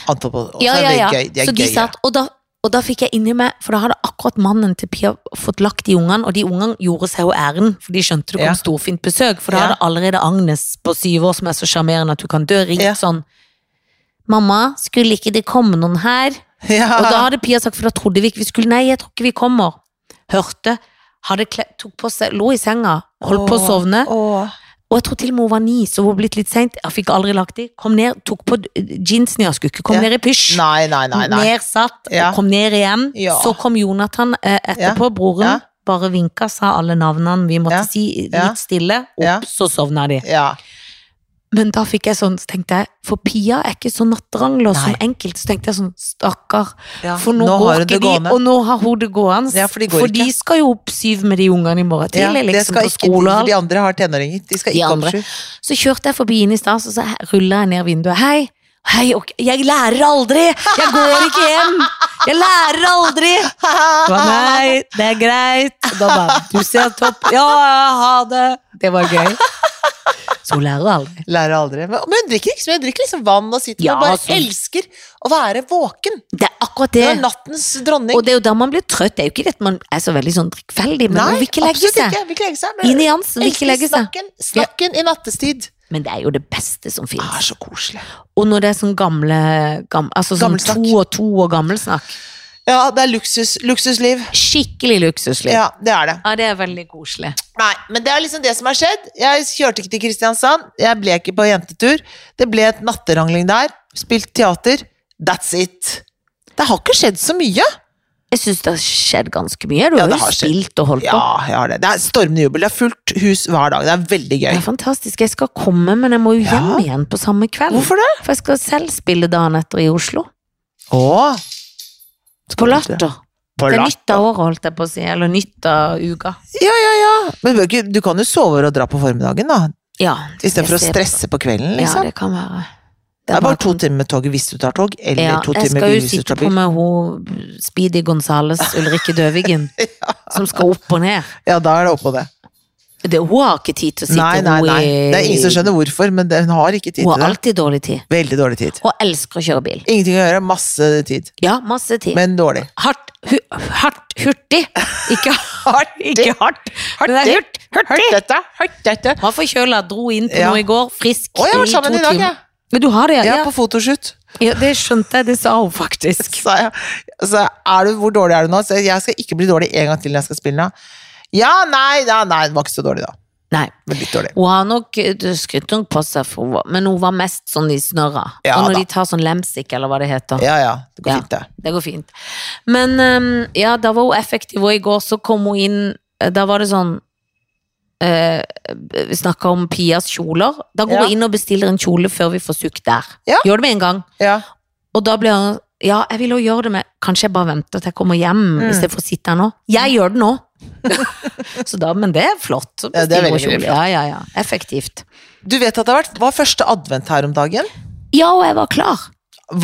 S1: Anton på og
S2: Ja,
S1: så er
S2: ja,
S1: det
S2: ja.
S1: Gøy. Det er
S2: Så de
S1: gøy, ja.
S2: satt, og da, og da fikk jeg inni meg, for da hadde akkurat mannen til Pia fått lagt de ungene, og de ungene gjorde seg jo æren, for de skjønte det kom
S1: Ja.
S2: storfint besøk, for da
S1: Ja.
S2: hadde allerede Agnes på syv år, som er så sjarmerende at hun kan dø, ringt
S1: Ja.
S2: sånn, mamma, skulle ikke det komme noen her?
S1: Ja.
S2: Og da hadde Pia sagt, for da trodde vi ikke vi skulle, nei, jeg tror ikke vi kommer. Hørte, hadde kle, tok på seg, lå i senga, holdt på å
S1: Åh,
S2: sovne,
S1: åh.
S2: og jeg tror til og med hun var ni, så hun var blitt litt sent, jeg fikk aldri lagt i, kom ned, tok på eh, jeansen, jeg skulle ikke komme
S1: Ja.
S2: ned i pysj
S1: Nei, nei, nei. nei.
S2: ned satt,
S1: Ja.
S2: kom ned igjen.
S1: Ja.
S2: Så kom Jonathan eh, etterpå, broren.
S1: Ja.
S2: Bare vinka, sa alle navnene vi måtte
S1: Ja.
S2: si, litt
S1: Ja.
S2: stille. Opp,
S1: Ja.
S2: så sovna de.
S1: Ja.
S2: Men da fikk jeg sånn, så tenkte jeg, for Pia er ikke så nattrangler som
S1: Nei.
S2: enkelte. Så tenkte jeg sånn, stakkar.
S1: Ja,
S2: For nå,
S1: nå har
S2: går
S1: hun
S2: ikke
S1: det
S2: de,
S1: gående.
S2: og nå har hun det gående.
S1: Ja, for de går ikke.
S2: skal jo opp syv med de ungene i morgen
S1: Ja,
S2: tidlig,
S1: det
S2: liksom,
S1: skal
S2: på
S1: ikke,
S2: skole og
S1: de,
S2: alt.
S1: de andre har tenåringer. De skal
S2: De
S1: ikke
S2: andre.
S1: opp sju.
S2: Så kjørte jeg forbi henne i stad, så sa jeg- rullet jeg ned vinduet. Hei, hei, ok, jeg lærer aldri! Jeg går ikke hjem! Jeg lærer aldri! Det var nei, det er greit. Og da bare, du ser topp. Ja, ja, ha det. Det var gøy. Så hun lærer aldri.
S1: Lærer aldri. Men, men hun drikker ikke så mye. Hun drikker liksom vann og sitter
S2: Ja,
S1: og bare
S2: sånn.
S1: elsker å være våken.
S2: Det er
S1: Hun
S2: akkurat det.
S1: er nattens dronning.
S2: Og det er jo da man blir trøtt. Det er jo ikke det at man er så veldig sånn drikkfeldig, men man vil ikke legge
S1: absolutt
S2: seg.
S1: ikke. Vil ikke legge seg.
S2: Ine Jansen vil
S1: elsker
S2: ikke legge seg.
S1: Snakken, snakken i nattestid.
S2: Men det er jo det beste som
S1: Det
S2: finnes.
S1: er så koselig.
S2: Og når det er sånn gamle, gam, altså sånn
S1: Gammelsnakk.
S2: to og to og gammelsnakk.
S1: Ja, det er luksus, luksusliv.
S2: Skikkelig luksusliv. Ja.
S1: Ja, det er det.
S2: det er veldig koselig.
S1: Nei, men det er liksom det som har skjedd. Jeg kjørte ikke til Kristiansand. Jeg ble ikke på jentetur. Det ble et natterangling der. Spilt teater. That's it. Det har ikke skjedd så mye.
S2: Jeg syns det har skjedd ganske mye. Du
S1: Ja,
S2: har
S1: det
S2: jo
S1: har skjedd.
S2: spilt og holdt på.
S1: Ja, jeg har det. Det er stormende jubel. Det er fullt hus hver dag. Det er veldig
S2: Det
S1: gøy.
S2: er fantastisk. Jeg skal komme, men jeg må jo hjem
S1: Ja.
S2: igjen på samme kveld.
S1: Hvorfor det?
S2: For jeg skal selv spille dagen etter i Oslo.
S1: Åh,
S2: På latter.
S1: på
S2: Det er
S1: latter.
S2: nytt av året, holdt jeg på å si. Eller nytt av uka.
S1: Ja, ja, ja. Men bør ikke- du kan jo sove og dra på formiddagen, da.
S2: Ja. det skal
S1: Istedenfor å
S2: jeg se på.
S1: stresse på kvelden, liksom.
S2: Ja, det kan være.
S1: det, er bare to timer med toget hvis du tar tog, eller
S2: ja,
S1: to
S2: jeg
S1: timer
S2: skal
S1: bil
S2: jo
S1: hvis du
S2: sitte
S1: tar
S2: på
S1: bil.
S2: med hun Speedy Gonzales Ulrikke Døvigen, som skal opp og ned.
S1: Ja, da er det oppå det.
S2: Det, hun har ikke tid til å sitte
S1: Nei, nei,
S2: hun
S1: nei.
S2: i-
S1: Det er ingen som skjønner hvorfor, men det- hun har ikke tid
S2: Hun
S1: til
S2: har
S1: det.
S2: alltid dårlig tid.
S1: Veldig dårlig tid.
S2: Hun elsker å kjøre bil.
S1: Ingenting å gjøre, masse tid.
S2: Ja, masse tid.
S1: Men dårlig.
S2: hardt, hu, hardt, hurtig. Ikke hardt, ikke hardt. Men det er hurt, hurtig.
S1: dette, hørt dette.
S2: Han forkjøla, dro inn på
S1: Ja.
S2: noe i går, frisk
S1: Å, jeg har vært sammen i dag, jeg.
S2: Men du har det, ja.
S1: Jeg er
S2: ja.
S1: på fotoshoot.
S2: ja det skjønte jeg, det sa hun faktisk.
S1: sa jeg. Så er du, hvor dårlig er du nå? Så jeg, jeg skal ikke bli dårlig en gang til når jeg skal spille nå. Ja, nei, ja, nei, den var ikke så dårlig da.
S2: Nei.
S1: Men litt dårlig.
S2: Hun har nok det skrytt nok på seg, for hun var, men hun var mest sånn i snørra.
S1: Ja,
S2: og når
S1: da.
S2: de tar sånn lemsik, eller hva det heter.
S1: Ja, ja, det går
S2: Ja.
S1: fint det.
S2: Det går fint. Men ehm, ja, da var hun effektiv, og i går så kom hun inn eh, Da var det sånn eh, Vi snakka om Pias kjoler. Da går
S1: Ja.
S2: hun inn og bestiller en kjole før vi får sukk der.
S1: Ja.
S2: Gjør det med en gang.
S1: Ja,
S2: Og da blir han Ja, jeg vil jo gjøre det med Kanskje jeg bare venter til jeg kommer hjem,
S1: Mm.
S2: istedenfor å sitte her nå. Jeg gjør det nå! så da, men det er flott. Så
S1: Ja, det er
S2: bestiller hun
S1: veldig, veldig
S2: kjole. Ja, ja, ja. Effektivt.
S1: Du vet at det har vært, var første advent her om dagen.
S2: Ja, og jeg var klar.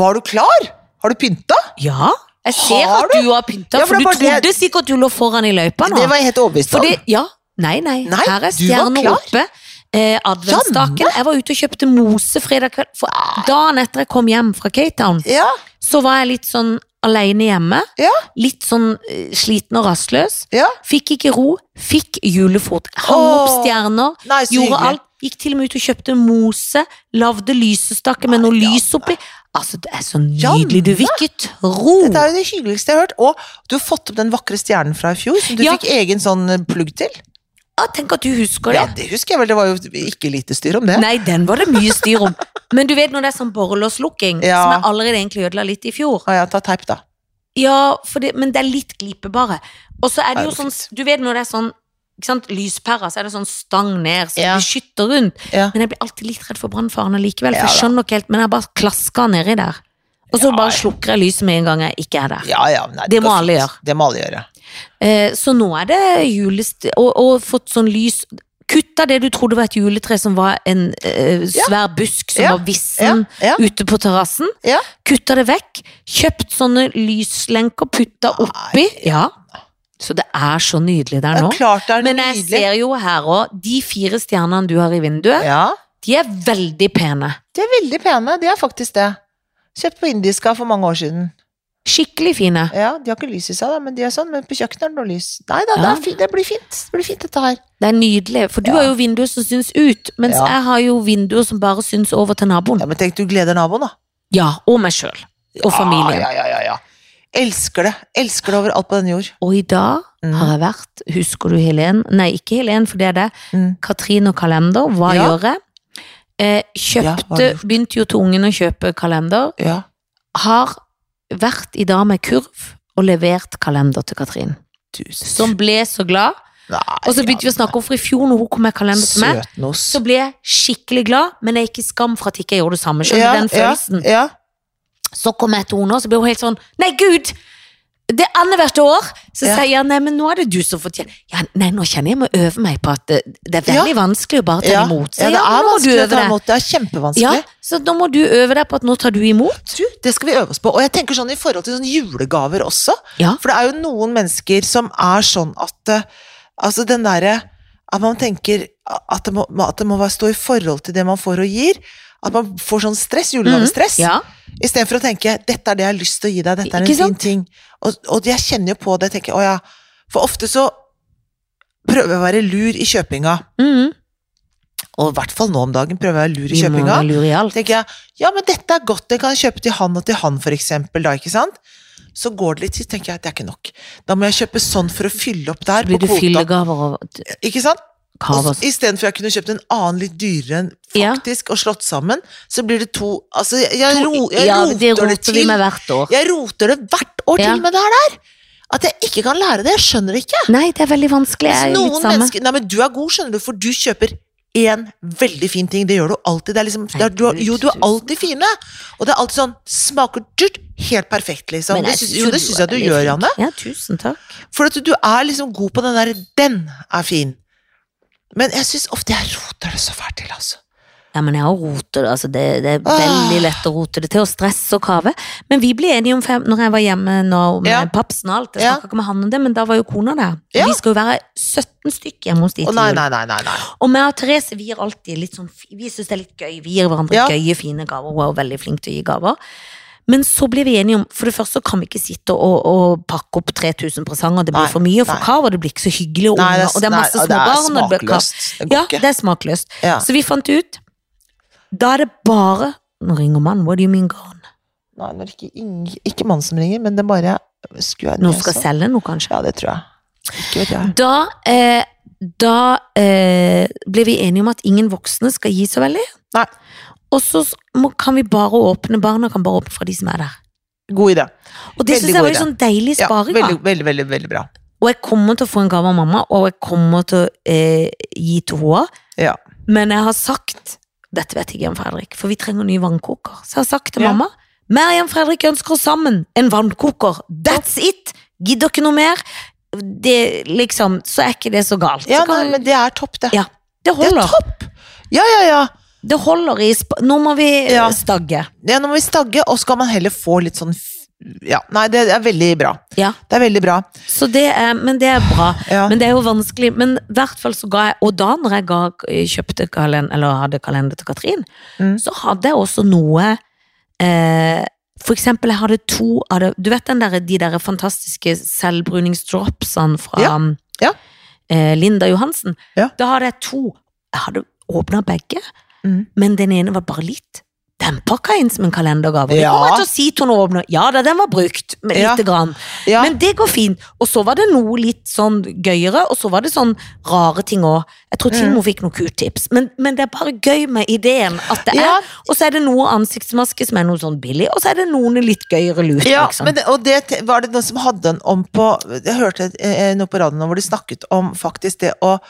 S1: Var du klar? Har du pynta?
S2: Ja. Jeg ser
S1: Har
S2: at du har pynta,
S1: Ja, for
S2: for
S1: det
S2: du
S1: er bare
S2: trodde
S1: det-
S2: sikkert du lå foran i løypa nå.
S1: Det var jeg helt overbevist om.
S2: Ah. Fordi, ja, nei, nei,
S1: Nei,
S2: her er
S1: du var
S2: stjernen
S1: klar. Sånn.
S2: oppe. Eh, adventsstaken. Jeg var ute og kjøpte mose fredag kveld. For
S1: Ah.
S2: dagen etter jeg kom hjem fra Cape Town,
S1: Ja,
S2: så var jeg litt sånn alene hjemme.
S1: Ja.
S2: Litt sånn eh, sliten og rastløs.
S1: ja.
S2: Fikk ikke ro. Fikk julefot. Hang opp
S1: Åh,
S2: stjerner.
S1: Nei, så
S2: Gjorde
S1: hyggelig.
S2: alt. Gikk til og med ut og kjøpte mose. Lagde lysestake med noe
S1: Nei, ja, Sånn,
S2: lys oppi. Altså, det er så nydelig. Du vil ikke tro.
S1: Dette er jo det hyggeligste jeg har hørt. Og du har fått opp den vakre stjernen fra i fjor, som du
S2: Ja.
S1: fikk egen sånn eh, plugg til.
S2: Å, tenk at du husker det.
S1: Ja, det husker jeg vel. Det var jo ikke lite styr om det.
S2: Nei, den var det mye styr om. Men du vet når det er sånn borrelåslukking,
S1: Ja.
S2: som jeg allerede egentlig ødela litt i fjor.
S1: Å ja, ta teip, da.
S2: Ja, for det, men det er litt glipebare. Og så
S1: Ja,
S2: er det jo
S1: det er
S2: sånn, du vet når det er sånn ikke sant, lyspærer, så er det sånn stang ned, så
S1: Ja.
S2: beskytter rundt.
S1: Ja.
S2: Men jeg blir alltid litt redd for brannfaren allikevel,
S1: Ja
S2: for jeg
S1: da.
S2: skjønner ikke helt, men jeg bare klasker nedi der. Og
S1: Ja,
S2: så bare
S1: ja.
S2: slukker jeg lyset med en gang jeg ikke er der.
S1: Ja, ja, nei,
S2: Det må
S1: går
S2: alle
S1: fint. Det må alle gjøre.
S2: Eh, så nå er det julest... Og, og fått sånn lys Kutta det du trodde var et juletre som var en eh,
S1: Ja.
S2: svær busk som
S1: Ja.
S2: var
S1: Ja,
S2: vissen
S1: ja.
S2: ute på terrassen.
S1: Ja.
S2: Kutta det vekk. Kjøpt sånne lyslenker, putta oppi. Ja. Så det er så
S1: Det
S2: nydelig der nå.
S1: er klart det er
S2: Men jeg
S1: nydelig.
S2: ser jo her òg, de fire stjernene du har i vinduet,
S1: Ja,
S2: de er veldig pene.
S1: de er veldig pene. De er faktisk det. Kjøpt på Indiska for mange år siden.
S2: Skikkelig fine.
S1: Ja, De har ikke lys i seg, da, men de er sånn. Men på kjøkkenet er det noe lys. Nei da, det,
S2: Ja.
S1: er fi- det blir fint. Det blir fint, dette her.
S2: Det er nydelig. For du
S1: Ja.
S2: har jo vinduer som syns ut, mens
S1: Ja.
S2: jeg har jo vinduer som bare syns over til naboen.
S1: Ja, Men tenk, du gleder naboen, da.
S2: Ja, og meg sjøl. Og familien.
S1: Ja, ja, ja, ja, ja. Elsker det. Elsker det over alt på denne jord.
S2: Og i dag
S1: Mm.
S2: har jeg vært, husker du Helen? Nei, ikke Helen, for det er det.
S1: Mm.
S2: Katrine og kalender, hva
S1: Ja.
S2: gjør jeg?
S1: Ja,
S2: Eh,
S1: hva har du
S2: kjøpte,
S1: gjort?
S2: begynte jo til ungen å kjøpe kalender.
S1: Ja.
S2: Har vært i dag med kurv og levert kalender til Katrin.
S1: Tusen
S2: Som ble så glad.
S1: Nei,
S2: Og så begynte vi å snakke om, for i fjor når hun kom med kalender til meg,
S1: Søtnos.
S2: så ble jeg skikkelig glad, men jeg gikk i skam for at ikke jeg gjorde det samme. Skjønner du den følelsen?
S1: Ja,
S2: Så kom jeg til henne, og så ble hun helt sånn Nei, gud! Det er annethvert år. Så
S1: Ja.
S2: sier jeg nei, men nå er det du som fortjener Ja, nei, nå kjenner jeg må øve meg på at det, det er veldig vanskelig å bare ta
S1: ja.
S2: imot. Så
S1: ja, det
S2: ja,
S1: er
S2: nå må du
S1: vanskelig å
S2: øve
S1: ta
S2: deg.
S1: imot. Det er
S2: Ja,
S1: kjempevanskelig.
S2: så nå må du øve deg på at nå tar du imot.
S1: Du, det skal vi øve oss på. Og jeg tenker sånn i forhold til sånn julegaver også.
S2: Ja.
S1: For det er jo noen mennesker som er sånn at eh, Altså den derre At man tenker at det, må, at det må være stå i forhold til det man får og gir. At man får sånn stress, julegavestress.
S2: Mm, Ja.
S1: Istedenfor å tenke 'dette er det jeg har lyst til å gi deg', 'dette er
S2: Ikke
S1: en fin
S2: sant?
S1: ting'. Og, og jeg kjenner jo på det. tenker jeg, å ja. For ofte så prøver jeg å være lur i kjøpinga,
S2: Mhm.
S1: og i hvert fall nå om dagen prøver jeg å være lur i
S2: Vi må
S1: kjøpinga.
S2: være lure i alt.
S1: tenker jeg, ja, men dette er godt, det kan jeg kjøpe til han og til han, for eksempel, da, ikke sant? Så går det litt tid, tenker jeg, det er ikke nok. Da må jeg kjøpe sånn for å fylle opp der,
S2: Så blir
S1: på Altså,
S2: det
S1: kvota.
S2: fyllegaver og
S1: Ikke sant?
S2: kaver.
S1: Istedenfor jeg kunne kjøpt en annen litt dyrere enn
S2: Ja.
S1: faktisk, og slått sammen, så blir det to Altså, jeg, jeg, ro, jeg
S2: Ja, det
S1: roter det
S2: roter vi
S1: til.
S2: med hvert år.
S1: Jeg roter det hvert år
S2: Ja.
S1: til med det her der. At jeg ikke kan lære det. Jeg skjønner det ikke.
S2: Nei, det er veldig vanskelig.
S1: Mens
S2: Jeg er jo
S1: noen
S2: litt samme.
S1: mennesker Nei, men du er god, skjønner du, for du kjøper én veldig fin ting. Det gjør du alltid. Det er liksom, det er, du, har- jo, du er alltid fine. Og det er alltid sånn Smaker dyrt. Helt perfekt, liksom.
S2: Men
S1: Det
S2: jeg
S1: syns, jo,
S2: synes
S1: det
S2: du
S1: syns
S2: er
S1: jeg du
S2: veldig
S1: gjør,
S2: flink.
S1: Janne.
S2: Ja, tusen takk.
S1: For at du er liksom god på den derre 'den er fin'. Men jeg syns ofte jeg roter det så fælt til, altså.
S2: Ja, men jeg har rotet det. Altså det, det er
S1: Ah.
S2: veldig lett å rote det til, og stress og kave. Men vi ble enige om fem når jeg var hjemme nå med
S1: Ja.
S2: papsen og alt. Jeg
S1: Ja.
S2: snakket ikke med han om det, men da var jo kona der.
S1: Ja.
S2: Vi skal jo være 17 stykker hjemme hos de
S1: Å
S2: til
S1: nei,
S2: jul.
S1: nei, nei, nei. nei.
S2: Og meg og Therese, vi gir alltid litt sånn fi- Vi syns det er litt gøy. Vi gir hverandre
S1: Ja.
S2: gøye, fine gaver. Hun er jo veldig flink til å gi gaver. Men så ble vi enige om For det første så kan vi ikke sitte og, og pakke opp 3000 presanger. Det blir
S1: Nei,
S2: for mye, og
S1: nei.
S2: for kava, det blir ikke så hyggelig, og,
S1: Nei, altså,
S2: unger, og det er
S1: nei,
S2: masse
S1: og det
S2: små
S1: er
S2: barn. og det blir kava.
S1: smakløst. Det går
S2: Ja,
S1: ikke.
S2: det er smakløst.
S1: Ja.
S2: Så vi fant ut Da er det bare Nå ringer mannen, what do you mean gone?
S1: Nei, nå er det ikke, ing- ikke mannen som ringer, men det er bare skru av
S2: Noen skal
S1: nesa.
S2: selge noe, kanskje?
S1: Ja, det tror jeg. Ikke vet jeg.
S2: Da, eh, da eh, ble vi enige om at ingen voksne skal gi så veldig.
S1: Nei.
S2: Og så s- må, kan vi bare åpne barna kan bare åpne fra de som er der.
S1: God idé.
S2: Og
S1: Veldig
S2: det syns jeg
S1: god
S2: var litt
S1: idé.
S2: sånn deilig
S1: Ja,
S2: sparing. da.
S1: veldig, veldig, veldig, veldig bra.
S2: Og jeg kommer til å få en gave av mamma, og jeg kommer til å eh, gi til henne.
S1: Ja.
S2: Men jeg har sagt Dette vet jeg ikke om Fredrik, for vi trenger ny vannkoker. Så jeg har sagt til
S1: Ja.
S2: mamma Mary og Fredrik ønsker oss sammen en vannkoker. That's it! Gidder ikke noe mer. Det, liksom, så er ikke det så galt.
S1: Ja,
S2: så kan,
S1: nei, men det er topp, det.
S2: Ja, det
S1: Det er
S2: holder.
S1: topp! Ja, ja, ja.
S2: Det holder i sp Nå må vi eh,
S1: Ja.
S2: stagge.
S1: ja. Nå må vi stagge, og så kan man heller få litt sånn f- Ja, nei, det er veldig bra.
S2: Ja.
S1: Det er veldig bra.
S2: Så det er, men det er bra.
S1: Ja.
S2: Men det er jo vanskelig. Men i hvert fall så ga jeg Og da når jeg ga, kjøpte kalender, eller hadde kalender til Katrin,
S1: Mm.
S2: så hadde jeg også noe eh, For eksempel, jeg hadde to av det Du vet den der, de der fantastiske selvbruningsdropsene fra
S1: ja.
S2: Eh, Linda Johansen?
S1: Ja.
S2: Da hadde jeg to. Jeg hadde åpna begge,
S1: Mm.
S2: men den ene var bare litt. Den pakka jeg inn som en kalendergave. Det
S1: Ja.
S2: kommer jeg til å si til når hun åpner. Ja da, den var brukt, men
S1: Ja.
S2: lite grann.
S1: Ja.
S2: Men det går fint. Og så var det noe litt sånn gøyere, og så var det sånn rare ting òg. Jeg tror til
S1: Mm.
S2: og med hun fikk noen Q-tips. Men, men det er bare gøy med ideen at det er.
S1: Ja.
S2: Og så er det noe ansiktsmaske som er noe sånn billig, og så er det noen litt gøyere lut.
S1: Ja,
S2: liksom.
S1: men det, og det te- var det noen som hadde den om på Jeg hørte eh, noe på radioen nå hvor de snakket om faktisk det å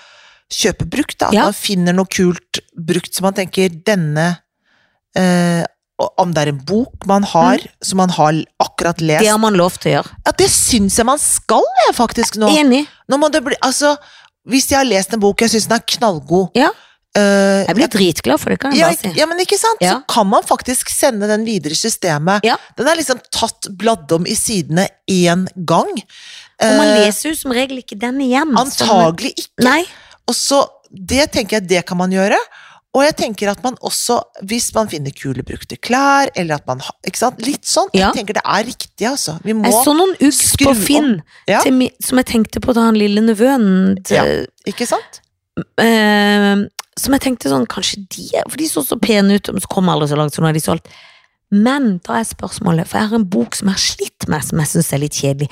S1: kjøpe brukt. Da, at
S2: Ja.
S1: man finner noe kult brukt som man tenker denne eh, og Om det er en bok man har, som man har l- akkurat lest
S2: Mm. det har man lov til å gjøre.
S1: Ja, det syns jeg man skal, jeg, faktisk, nå.
S2: Enig.
S1: nå må det bli, altså, hvis jeg har lest en bok jeg syns den er knallgod
S2: Ja.
S1: eh,
S2: Jeg blir dritglad for det, kan jeg
S1: ja,
S2: bare si.
S1: ja, men ikke sant?
S2: Mm. Ja.
S1: Så kan man faktisk sende den videre i systemet.
S2: Ja.
S1: Den er liksom tatt bladd om i sidene én gang.
S2: Og man
S1: Eh,
S2: leser jo som regel ikke den igjen. så man-
S1: Antagelig ikke.
S2: Nei.
S1: Og så, det tenker jeg, det kan man gjøre. Og jeg tenker at man også, hvis man finner kule brukte klær, eller at man har Ikke sant? Litt sånn.
S2: Ja.
S1: Jeg tenker det er riktig, altså. Vi må
S2: Jeg så sånn noen ugg
S1: skru
S2: på
S1: om.
S2: Finn
S1: Ja.
S2: til, mi- som jeg tenkte på da han lille nevøen til-
S1: Ikke sant?
S2: eh, Som jeg tenkte sånn, kanskje de er For de så så pene ut, men så kom aldri så langt, så nå er de solgt. Men da er spørsmålet, for jeg har en bok som jeg har slitt med, som jeg syns er litt kjedelig.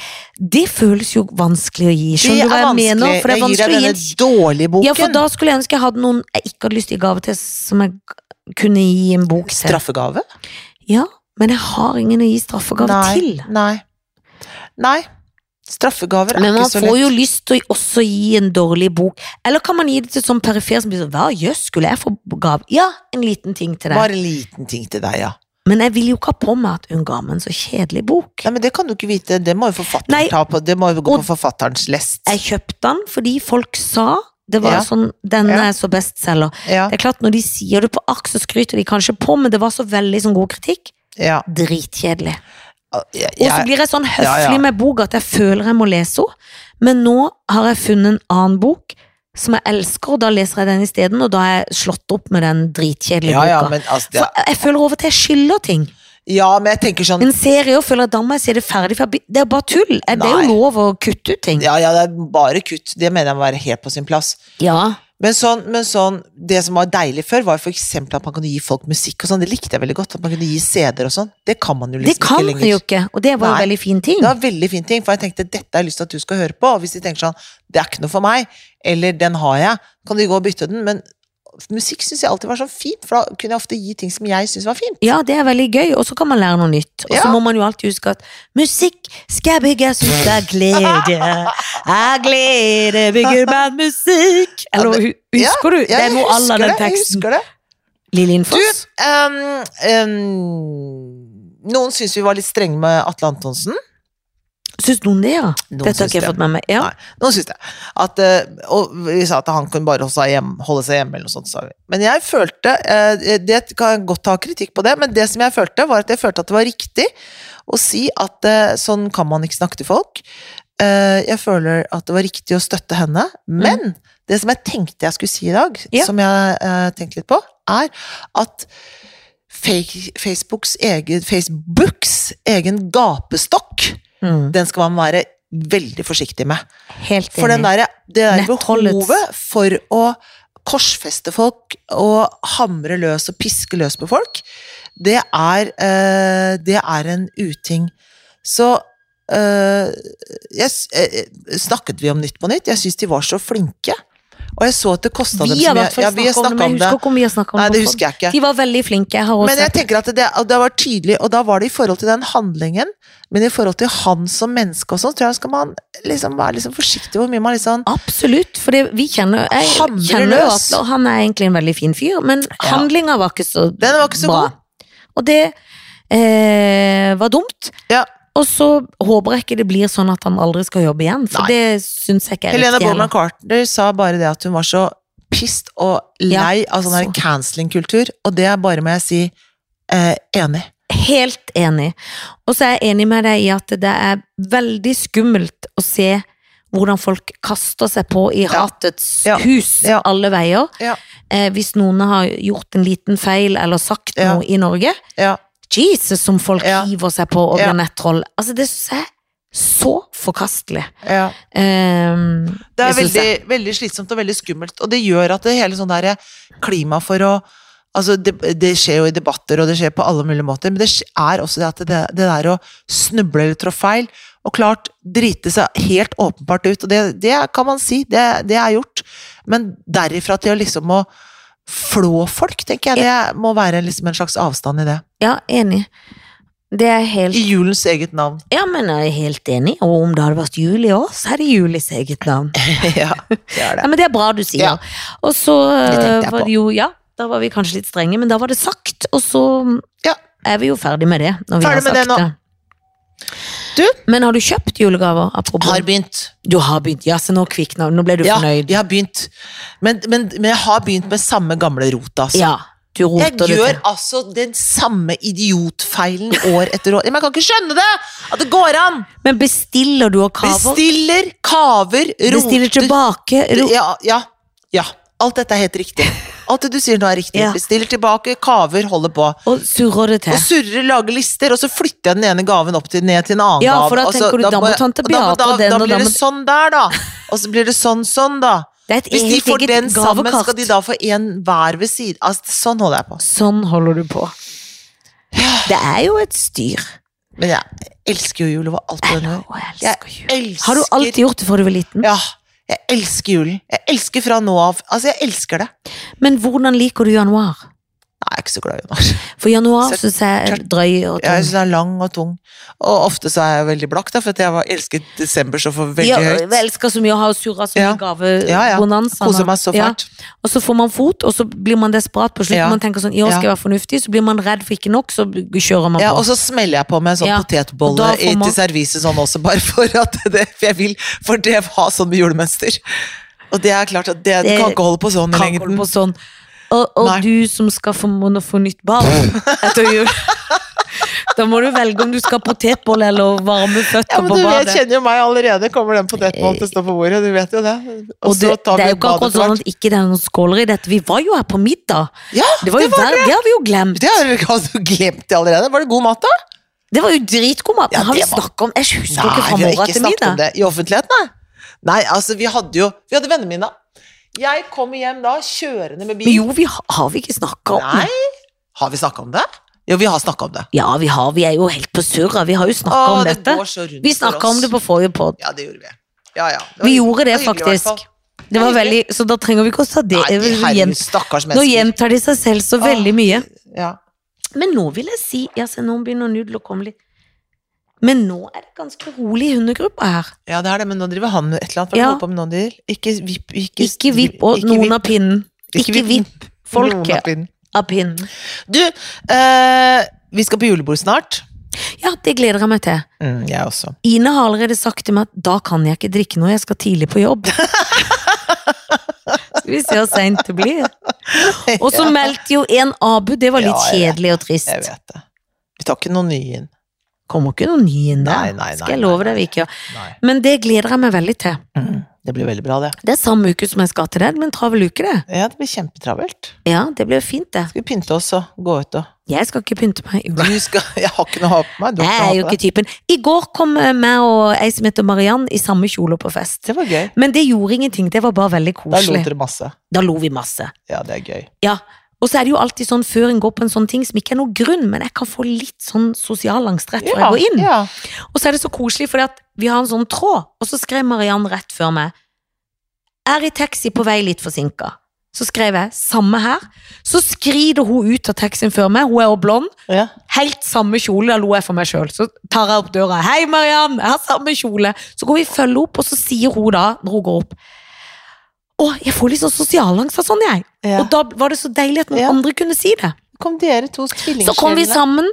S2: Det føles jo vanskelig å gi. Skjønner du hva jeg mener? For det
S1: jeg
S2: er
S1: gir
S2: vanskelig å
S1: deg
S2: gi
S1: denne
S2: en
S1: dårlige boken.
S2: Ja, for da skulle jeg ønske jeg hadde noen jeg ikke hadde lyst til å gi gave til, som jeg g- kunne gi en bok til.
S1: Straffegave?
S2: Ja, men jeg har ingen å gi straffegave til.
S1: Nei. Nei. Straffegaver er
S2: Men man
S1: ikke så
S2: får
S1: lett.
S2: jo lyst til å også gi en dårlig bok. Eller kan man gi det til sånn perifer som blir sånn Hva jøss, skulle jeg få gave? Ja, en liten ting til deg.
S1: Bare en liten ting til deg, ja.
S2: Men jeg vil jo ikke ha på meg at hun ga meg en så kjedelig bok.
S1: Nei, men Det kan du ikke vite. Det må jo forfatteren
S2: Nei.
S1: ta på. Det må jo gå
S2: Og-
S1: på forfatterens lest.
S2: Jeg kjøpte den fordi folk sa det var
S1: Ja.
S2: sånn Denne
S1: Ja.
S2: er så bestselger.
S1: Ja,
S2: Det er klart, når de sier det på ark, så skryter de kanskje på, men det var så veldig sånn god kritikk.
S1: ja.
S2: Dritkjedelig.
S1: Jeg,
S2: Og så
S1: jeg,
S2: blir jeg sånn høflig
S1: Ja, ja.
S2: med boka at jeg føler jeg må lese henne. Men nå har jeg funnet en annen bok som jeg elsker, og da leser jeg den isteden. Og da har jeg slått opp med den dritkjedelige
S1: ja, ja,
S2: boka.
S1: men altså
S2: For
S1: det,
S2: jeg- jeg føler over til jeg skylder ting.
S1: Ja, men jeg tenker sånn
S2: En serie og føler at da må jeg se det ferdig, for jeg blir- det er bare tull. Det er
S1: Nei.
S2: jo lov å kutte ut ting.
S1: Ja, ja, det er bare kutt. Det mener jeg må være helt på sin plass.
S2: Ja.
S1: Men sånn, men sånn det som var deilig før, var for eksempel at man kunne gi folk musikk og sånn. Det likte jeg veldig godt. At man kunne gi CD-er og sånn. Det kan man jo
S2: Det
S1: liksom
S2: kan
S1: ikke
S2: man
S1: lenger.
S2: jo ikke, og det var
S1: Nei.
S2: jo veldig fin ting.
S1: Det var en veldig fin ting, for jeg tenkte dette har jeg lyst til at du skal høre på. Og hvis de tenker sånn, det er ikke noe for meg, eller den har jeg, kan de gå og bytte den. Men musikk syns jeg alltid var så fint, for da kunne jeg ofte gi ting som jeg syns var fint.
S2: Ja, det er veldig gøy, og så kan man lære noe nytt. Og så
S1: Ja.
S2: må man jo alltid huske at musikk skal bygges ut av glede. Av glede bygger man musikk. Eller
S1: Ja,
S2: hu- husker du?
S1: Ja,
S2: det er
S1: jeg
S2: noe à la
S1: husker
S2: den
S1: det, jeg
S2: teksten.
S1: husker det.
S2: Lille
S1: Du,
S2: Innfoss?
S1: ehm, ehm, noen syns vi var litt strenge med Atle Antonsen.
S2: Syns noen det, ja?
S1: Noen
S2: Dette har
S1: syns
S2: ikke jeg
S1: det.
S2: fått med meg. Ja.
S1: Nei. Nå syns jeg at eh, Og vi sa at han kunne bare holde seg hjemme, holde seg hjemme eller noe sånt, sa vi. Men jeg følte eh, Det kan jeg godt ta kritikk på det, men det som jeg følte, var at jeg følte at det var riktig å si at eh, sånn kan man ikke snakke til folk. Eh, jeg føler at det var riktig å støtte henne, men det som jeg tenkte jeg skulle si i dag,
S2: Ja.
S1: som jeg eh, tenkte litt på, er at fake, Facebooks egen, Facebooks egen gapestokk,
S2: Mm.
S1: den skal man være veldig forsiktig med.
S2: Helt enig.
S1: For den der, det der
S2: Nettholdets-
S1: behovet for å korsfeste folk og hamre løs og piske løs på folk, det er, eh, det er en uting. Så eh, jeg, s- eh, Snakket vi om Nytt på Nytt? Jeg syns de var så flinke. Og jeg så at det kosta dem
S2: vi
S1: så
S2: har i
S1: mye.
S2: hvert fall
S1: Ja, vi har
S2: snakket om det, men jeg
S1: snakket
S2: husker ikke om vi har snakket om
S1: Nei, det
S2: på
S1: husker jeg ikke.
S2: podden. De var veldig flinke. Jeg har også
S1: Men jeg
S2: sett
S1: tenker at det, og det var tydelig, og da var det i forhold til den handlingen, men i forhold til han som menneske og sånn, tror jeg skal man liksom være liksom forsiktig hvor mye man liksom
S2: Absolutt, for det, vi kjenner, jeg
S1: Hamrer
S2: kjenner jo
S1: løs.
S2: Atle, og han er egentlig en veldig fin fyr, men handlinga var ikke så
S1: Den var ikke så
S2: bra. Og det eh, var dumt.
S1: Ja.
S2: Og så håper jeg ikke det blir sånn at han aldri skal jobbe igjen, for
S1: Nei.
S2: det syns jeg ikke er
S1: Helena
S2: riktig.
S1: Bowman
S2: heller.
S1: Carter sa bare det at hun var så pissed og lei av sånn her
S2: så.
S1: canceling-kultur, og det er bare, må jeg si, eh, enig.
S2: Helt enig. Og så er jeg enig med deg i at det er veldig skummelt å se hvordan folk kaster seg på i hatets
S1: Ja.
S2: hus
S1: Ja.
S2: alle veier.
S1: Ja.
S2: Eh, hvis noen har gjort en liten feil eller sagt
S1: Ja.
S2: noe i Norge.
S1: Ja.
S2: Jesus, som folk
S1: Ja.
S2: hiver seg på og blir
S1: Ja.
S2: nettroll. Altså, det syns jeg er så forkastelig.
S1: ja.
S2: Ehm,
S1: Det er
S2: synes
S1: veldig, veldig slitsomt og veldig skummelt, og det gjør at det hele sånn der eh, klima for å Altså, det, det skjer jo i debatter, og det skjer på alle mulige måter, men det skj- er også det at det, det der å snuble eller trå feil, og klart drite seg helt åpenbart ut, og det, det kan man si, det, det er gjort. Men derifra til å liksom å flå folk, tenker jeg, det må være liksom en slags avstand i det.
S2: Ja, enig. Det er helt
S1: I julens eget navn.
S2: Ja, men jeg er helt enig. Og om det hadde vært jul i år, så er det jul i sitt eget navn.
S1: ja, det er
S2: Ja, men det er bra du sier.
S1: Ja.
S2: Og så eh,
S1: Det tenkte jeg
S2: var
S1: på.
S2: det jo Ja, da var vi kanskje litt strenge, men da var det sagt, og så
S1: Ja.
S2: er vi jo ferdig med det. Når vi
S1: Ferdig med
S2: har
S1: det
S2: sagt
S1: nå. Du?
S2: Men har du kjøpt julegaver? Apropos.
S1: Har begynt.
S2: Du har begynt. Ja, se nå kvikna Nå ble du
S1: Ja,
S2: fornøyd.
S1: jeg har begynt. Men, men, men jeg har begynt med samme gamle rot, altså.
S2: Ja, du
S1: Jeg
S2: roter det
S1: gjør
S2: til.
S1: altså den samme idiotfeilen år etter år. Men jeg kan ikke skjønne det! At det går an!
S2: Men bestiller du og kaver?
S1: Bestiller, kaver,
S2: Bestiller
S1: roter
S2: tilbake? Ro
S1: ja, ja, ja. Alt dette er helt riktig. Alt det du sier nå er riktig.
S2: Ja.
S1: Bestiller tilbake, kaver, holder på.
S2: og surrer det
S1: Og
S2: til?
S1: surrer, lager lister, og så flytter jeg den ene gaven opp til, ned til en annen
S2: Ja,
S1: gave.
S2: for da tenker du, da må tante
S1: da,
S2: Beate
S1: da,
S2: og den,
S1: da
S2: og
S1: blir
S2: da
S1: det
S2: må-
S1: sånn der, da. Og så blir det sånn, sånn, da.
S2: Det er et
S1: Hvis de får
S2: eget
S1: den
S2: eget
S1: sammen, skal
S2: gavekart.
S1: de da få en hver ved siden. Altså, sånn holder jeg på.
S2: Sånn holder du på. Det er jo et styr.
S1: Men jeg elsker jo jul over alt på den
S2: Å,
S1: måten.
S2: jeg elsker
S1: Jeg
S2: jul.
S1: elsker
S2: Har du alltid gjort det fra du var liten?
S1: Ja. Jeg elsker julen. Jeg elsker fra nå av. Altså, jeg elsker det.
S2: Men hvordan liker du januar?
S1: Nei, jeg er ikke så glad i januar.
S2: For januar
S1: Så-
S2: syns jeg er
S1: klart-
S2: drøy og
S1: Jeg
S2: tung.
S1: syns den er sånn lang og tung. Og ofte så er jeg veldig blakk, da, for at jeg var, elsket desember så for veldig
S2: Ja,
S1: høyt.
S2: jeg elsker så mye og har surra så mye
S1: Ja. Ja, ja.
S2: gavebonanza.
S1: Koser meg så
S2: Ja.
S1: fælt.
S2: Og så får man fot, og så blir man desperat på slutten.
S1: Ja.
S2: Man tenker sånn, i år skal jeg være fornuftig, så blir man redd for ikke nok, så kjører man
S1: Ja, og
S2: på.
S1: så smeller jeg på med en sånn
S2: Ja, og
S1: potetbolle
S2: da får
S1: i-
S2: man-
S1: til serviset sånn også, bare for at det, for jeg vil, for det var sånn med julemønster. Og det er klart at det, du
S2: Det-
S1: kan ikke holde på sånn i
S2: Kan ikke holde
S1: lengden.
S2: på sånn. Og, og
S1: Nei.
S2: du som skal få, må nå få nytt barn etter jul. Da må du velge om du skal ha potetbolle eller varme
S1: Ja,
S2: føtter
S1: men
S2: sånn på
S1: du vet,
S2: badet.
S1: kjenner jo meg allerede, kommer den potetbollen til å stå på bordet, du vet jo det. Og,
S2: Og det,
S1: så tar vi
S2: det er jo ikke akkurat sånn
S1: badetvert.
S2: at ikke det er noen skåler i dette. Vi var jo her på middag.
S1: Ja,
S2: Det, var jo hver- det har vi jo glemt.
S1: det har du- har du glemt det allerede. Var det god mat da?
S2: Det var jo dritgod mat.
S1: Ja,
S2: har vi
S1: det var-
S2: snakket om Jeg husker
S1: Nei,
S2: ikke fra
S1: vi har
S2: morgen
S1: ikke
S2: til
S1: snakket om
S2: middag.
S1: det i offentligheten, nei. Nei, altså, vi hadde jo, vi hadde vennemiddag. Jeg kom hjem da, kjørende med
S2: Men
S1: bil.
S2: jo, vi har, har vi ikke snakket om
S1: Nei, har vi snakket om det? Jo, vi har snakket om det.
S2: Ja, vi har. Vi er jo helt på surra. Vi har jo
S1: Åh,
S2: snakket om
S1: det
S2: dette.
S1: går så rundt
S2: Vi
S1: for
S2: snakket
S1: oss.
S2: om det på forrige pod.
S1: Ja, det gjorde vi. Ja, ja. Det var
S2: Vi
S1: hyggelig.
S2: gjorde det,
S1: var hyggelig i hvert
S2: faktisk.
S1: fall.
S2: Det var
S1: Det var
S2: veldig, så da trenger vi ikke å ta det.
S1: Nei, herregud, stakkars
S2: Nå
S1: mennesker.
S2: gjentar de seg selv så
S1: Åh.
S2: veldig mye.
S1: Ja.
S2: Men nå vil jeg si Ja, se, nå begynner nudler å komme litt. Men nå er det ganske rolig i hundegruppa her.
S1: ja, det er det, men nå driver han med et eller annet. Hva
S2: Ja.
S1: ja. på med noen dyr? Ikke vipp, ikke,
S2: Ikke vipp og
S1: ikke
S2: noen
S1: vipp.
S2: av pinnen.
S1: Ikke
S2: Ikke
S1: vipp.
S2: vipp
S1: Noen av
S2: folket
S1: pinnen.
S2: av pinnen.
S1: Du, eh, vi skal på julebord snart.
S2: Ja, det gleder jeg meg til.
S1: Mm, jeg også.
S2: Ine har allerede sagt til meg at da kan jeg ikke drikke noe, jeg skal tidlig på jobb. Skal vi se hvor seint det blir. Og så meldte jo en Abu, det var litt
S1: Ja, jeg vet.
S2: kjedelig og
S1: Jeg
S2: trist.
S1: vet det. Vi tar ikke noen nye inn.
S2: Kommer ikke noen ny inn
S1: Nei,
S2: der,
S1: nei, nei,
S2: skal jeg
S1: nei,
S2: love
S1: nei,
S2: deg vi ikke gjør.
S1: Nei.
S2: Men det gleder jeg meg veldig til.
S1: Mm. Det blir veldig bra, det.
S2: Det er samme uke som jeg skal til deg, men travel uke, det.
S1: Ja, det blir kjempetravelt.
S2: Ja, det blir fint, det.
S1: Skal vi pynte oss og gå ut og
S2: Jeg skal ikke pynte meg. Jo,
S1: Du skal Jeg har ikke noe å ha på meg. Du
S2: Jeg
S1: har
S2: er
S1: ikke
S2: jo
S1: noe å ha på deg.
S2: ikke typen. I går kom eh, meg og ei som heter Mariann i samme kjole på fest.
S1: Det var gøy.
S2: Men det gjorde ingenting, det var bare veldig
S1: Da lo
S2: koselig.
S1: dere masse.
S2: Da lo vi masse.
S1: Ja, det er gøy.
S2: Ja, og så er det jo alltid sånn før en går på en sånn ting som ikke er noe grunn, men jeg kan få litt sånn sosial angst rett før
S1: Ja,
S2: jeg går inn.
S1: ja.
S2: Og så er det så koselig, fordi at vi har en sånn tråd, og så skrev Mariann rett før meg Er i taxi på vei litt forsinka. Så skrev jeg 'samme her'. Så skrider hun ut av taxien før meg, hun er også blond,
S1: ja.
S2: helt samme kjole, da lo jeg for meg sjøl. Så tar jeg opp døra. 'Hei, Mariann, jeg har samme kjole'. Så går vi og følger opp, og så sier hun da, når hun går opp Å, jeg får litt sånn sosialangst av sånn, jeg.
S1: Ja.
S2: Og da var det så deilig at noen
S1: Ja.
S2: andre kunne si det.
S1: kom dere to
S2: Så kom vi sammen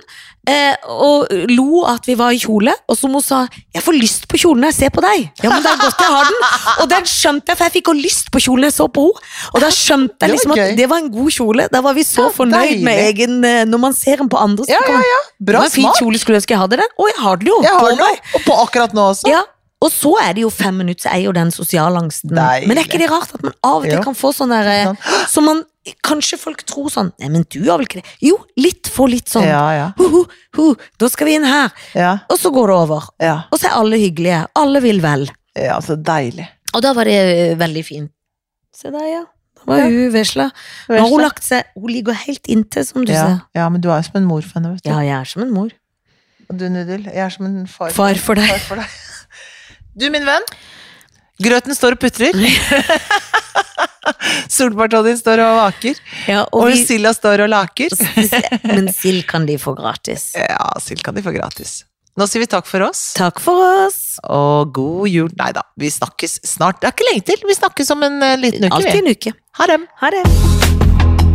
S2: eh, og lo at vi var i kjole, og som hun sa 'Jeg får lyst på kjolen når jeg ser på deg'. Ja, men det er godt jeg har den. Og den skjønte jeg, for jeg fikk også lyst på kjolen når jeg så på henne. Og da skjønte
S1: Det var
S2: jeg liksom
S1: gøy.
S2: at det var en god kjole. Da var vi så
S1: Ja,
S2: fornøyd med
S1: deilig.
S2: egen eh, Når man ser den på andre, så
S1: Ja,
S2: kan
S1: ja,
S2: man
S1: ja.
S2: det
S1: Bra
S2: var en fin
S1: smak.
S2: kjole, skulle ønske jeg hadde det. Og jeg har den jo.
S1: Jeg har
S2: på
S1: den jo,
S2: meg.
S1: og på akkurat nå også.
S2: Ja. Og så er det jo fem minutter, så er jo den sosialangsten.
S1: Deilig.
S2: Men er ikke det rart at man av og til
S1: Jo.
S2: kan få sånn der eh,
S1: Sånn.
S2: Som man Kanskje folk tror sånn Nei, men du har vel ikke det? Jo, litt for litt sånn.
S1: Ja, ja.
S2: Hu, hu, hu, da skal vi inn her.
S1: Ja,
S2: Og så går det over.
S1: ja.
S2: Og så er alle hyggelige. Alle vil vel.
S1: ja så deilig.
S2: Og da var det eh, veldig fint. Se der, ja. Da var hun vesla. Nå har hun lagt seg Hun ligger helt inntil, som du
S1: ja.
S2: sa.
S1: ja, men du er jo som en mor for henne, vet du.
S2: Ja, jeg er som en mor.
S1: Og du, Nudel, jeg er som en far,
S2: Far for deg.
S1: far for deg. Du, min venn. Grøten står og putrer. Solparta din står og vaker.
S2: Ja, og
S1: Og
S2: vi,
S1: Silja står og laker.
S2: men sild kan de få gratis.
S1: Ja, Sild kan de få gratis. Nå sier vi takk for oss.
S2: Takk for oss.
S1: Og god jul. Nei da, vi snakkes snart. Det er ikke lenge til. Vi snakkes om en eh, liten uke.
S2: Alltid
S1: vi.
S2: en uke.
S1: Ha det.
S2: Ha det.